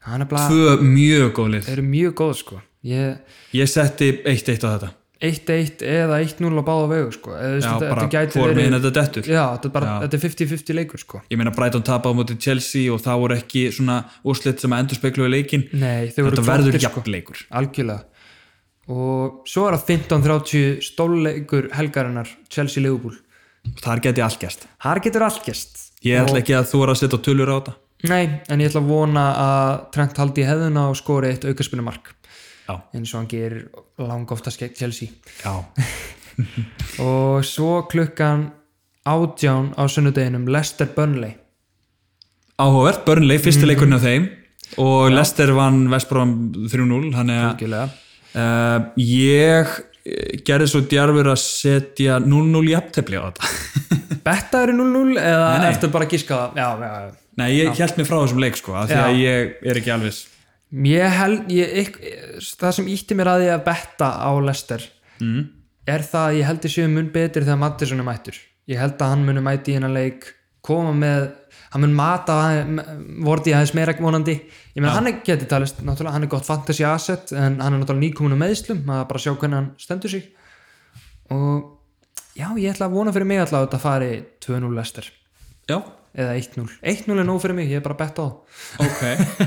B: það er bara,
A: tvö mjög góð lið
B: þeir eru mjög góð sko ég
A: ég setti eitt eitt á þetta
B: 1-1 eða 1-0 á báða vegu sko. eða, þú veist,
A: Já,
B: þetta,
A: bara
B: þetta gæti
A: hvor
B: verið
A: megin þetta dettur.
B: já, þetta er bara- þetta er 50-50 leikur sko.
A: ég meina Brighton tapa á móti Chelsea og það voru ekki svona úrslit sem að endur spekluðu leikin
B: Nei, þau voru
A: þetta verður
B: flottir, sko.
A: jafn leikur
B: algjörlega og svo er það 15-30 stólleikur helgarinnar Chelsea Liverpool
A: þar geti allt gæst
B: þar getur allt gæst
A: ég ætla ekki að þú voru að setja tölur á þetta
B: nei, en ég ætla að vona að Trent haldi í hefðuna og skori eitt aukaspunni mark
A: já,
B: eins og hann gerir langa oftast gegn Chelsea
A: já,
B: og svo klukkan átján á sunnudeginum Lester Burnley
A: áhugavert Burnley, fyrsti
B: Mhm.
A: leikurinn af þeim og Lester vann Vestbrom 3-0 þannig að
B: algjörlega
A: uh, ég eh, gerði svo djarfur að setja 0-0 jafntefli á þetta
B: Betta eru 0-0 eða ertu bara að gíska það? Já, já, já.
A: nei, ég held mér frá þessum leik sko af því
B: Já.
A: að ég er ekki alveg viss.
B: Ég held, ég, ég, það sem ítti mér að ég að betta á Lester mm. er það að ég held ég séu mun betur þegar Mattisson er mættur. Ég held að hann muni mæti í hennar leik, koma með, hann mun mata vorti aðeins meira vonandi. Ég meina hann er getið talist, náttúrulega hann er gott fantasy asset en hann er náttúrulega nýkominu meðslum, maður bara sjá hvernig hann stendur sig. Og já, ég ætla að vona fyrir mig alltaf að þetta fari 2-0 Lester.
A: já,
B: eða 1-0 1-0 er nóg fyrir mig, ég er bara bett á það
A: ok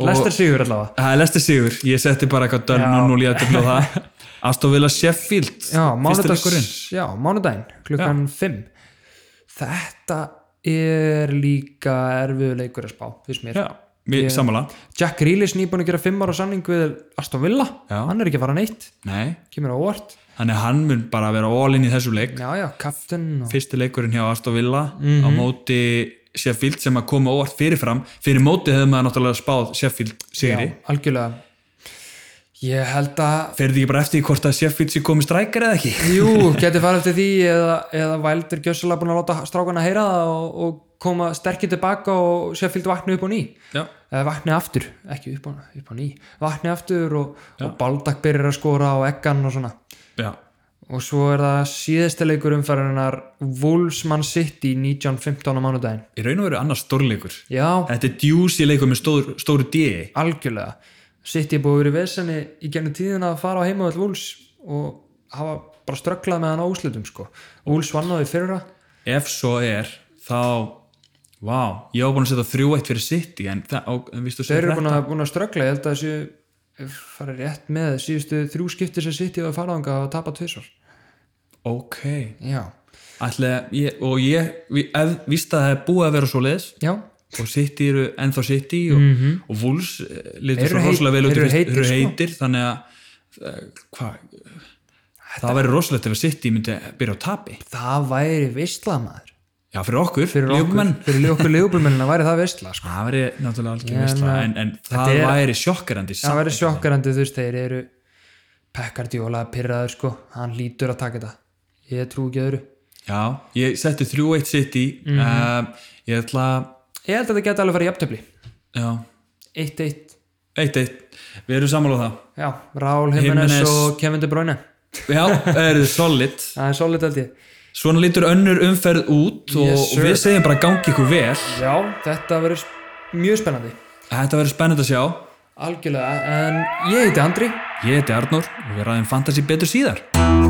A: Og-
B: Lester sigur allavega
A: Það er lesti sigur, ég setti bara eitthvað dörn
B: Já.
A: og núl í aðtöfla það Aston Villa Sheffield
B: já,
A: Fyrsti leikurinn.
B: mánudags, já, mánudaginn klukkan 5 þetta er líka erfiðu leikur að spá, fyrst mér
A: Já, mér yeah. samanlega
B: Jack Grealish nýbúin að gera 5 ára sanning við Aston Villa,
A: Já.
B: hann er ekki að fara neitt
A: Nei,
B: kemur á óvart,
A: þannig að hann mun bara vera all in í þessu leik
B: já já, Mhm. captain og...
A: Fyrsti leikurinn hjá Aston Villa á móti Sheffield sem að koma óvart fyrirfram Fyrir móti hefði maður náttúrulega spáð Sheffield sigri
B: já, algjörlega ég held að
A: Ferði ekki bara eftir því hvort að Sheffield sé komið strækir eða ekki
B: Jú, geti farið eftir því eða, eða Vældur gjössalega búin að láta strákana heyra það og, og koma sterkir tilbaka og Sheffield vakna upp og ný
A: Já,
B: eða vakna aftur, ekki upp á, upp á ný vakna aftur og, og Baldak byrjar að skora og Eggan og svona
A: já,
B: og svo er það síðasta leikur umfærinar Wolves Man City 1915 á mánudaginn
A: í raun og veru annars stórleikur
B: Já,
A: Þetta er djúsi leikur með stór, stóru D
B: algjörlega City er búið að vera í vesenni í gennum tíðina að fara á heimavöld Wolves og hafa bara strögglað með hann á úslutum sko. Wolves vann á því fyrra
A: ef svo er þá, vá, ég var búin að setja 3-1 fyrir City en það, á, en vistu
B: Þeir
A: sér
B: eru búin að, búin að ströggla, ég held að þessu fara rétt með síðustu þrjú skipti sem sitt í að fara þangað og tapa tvisvar.
A: ok,
B: Já.
A: ætla ég, og ég, vi- ef, víst að það er búið að vera svo leiðis
B: Já.
A: og City eru ennþá City og, mm -hmm. og Wolves eh, litur
B: Mhm. Eru
A: svo
B: heit-
A: rosalega vel út í
B: eru
A: fyrst-
B: heitir,
A: eru
B: sko.
A: heitir þannig að eh, hvað það væri rosalegt ef að City myndi byrja á tapi
B: Það væri veistla maður.
A: já, fyrir okkur,
B: Fyrir
A: Leikmenn.
B: okkur, fyrir okkur leifbúlmennina væri það veistla sko.
A: það væri náttúrulega algjör
B: Ég
A: veistla
B: meina,
A: en, en það
B: er-
A: væri sjokkarandi
B: Það væri sjokkarandi þú veist, þeir eru pekkardjóla pyrraður sko, hann lítur að taka þetta. Ég trú ekki öðru.
A: já, ég setti 3-1 City
B: Mhm.
A: mm ég ætla
B: Ég held að það geta alveg farið jafntöfli.
A: já,
B: 1-1.
A: Eitt, eitt, við erum samanlóð það
B: Já, Raúl Jiménez
A: Jimenez.
B: og Kevin De Bruyne.
A: Já, það eru solid
B: Það er solid held ég.
A: Svona lítur önnur umferð út og
B: Yes, sir.
A: við segjum bara gangi ykkur vel
B: Já, þetta verður mjög spennandi.
A: Þetta verður spennend að sjá
B: Algjörlega, en ég heiti Andri.
A: Ég heiti Arnór og við ræðum fantasy betur síðar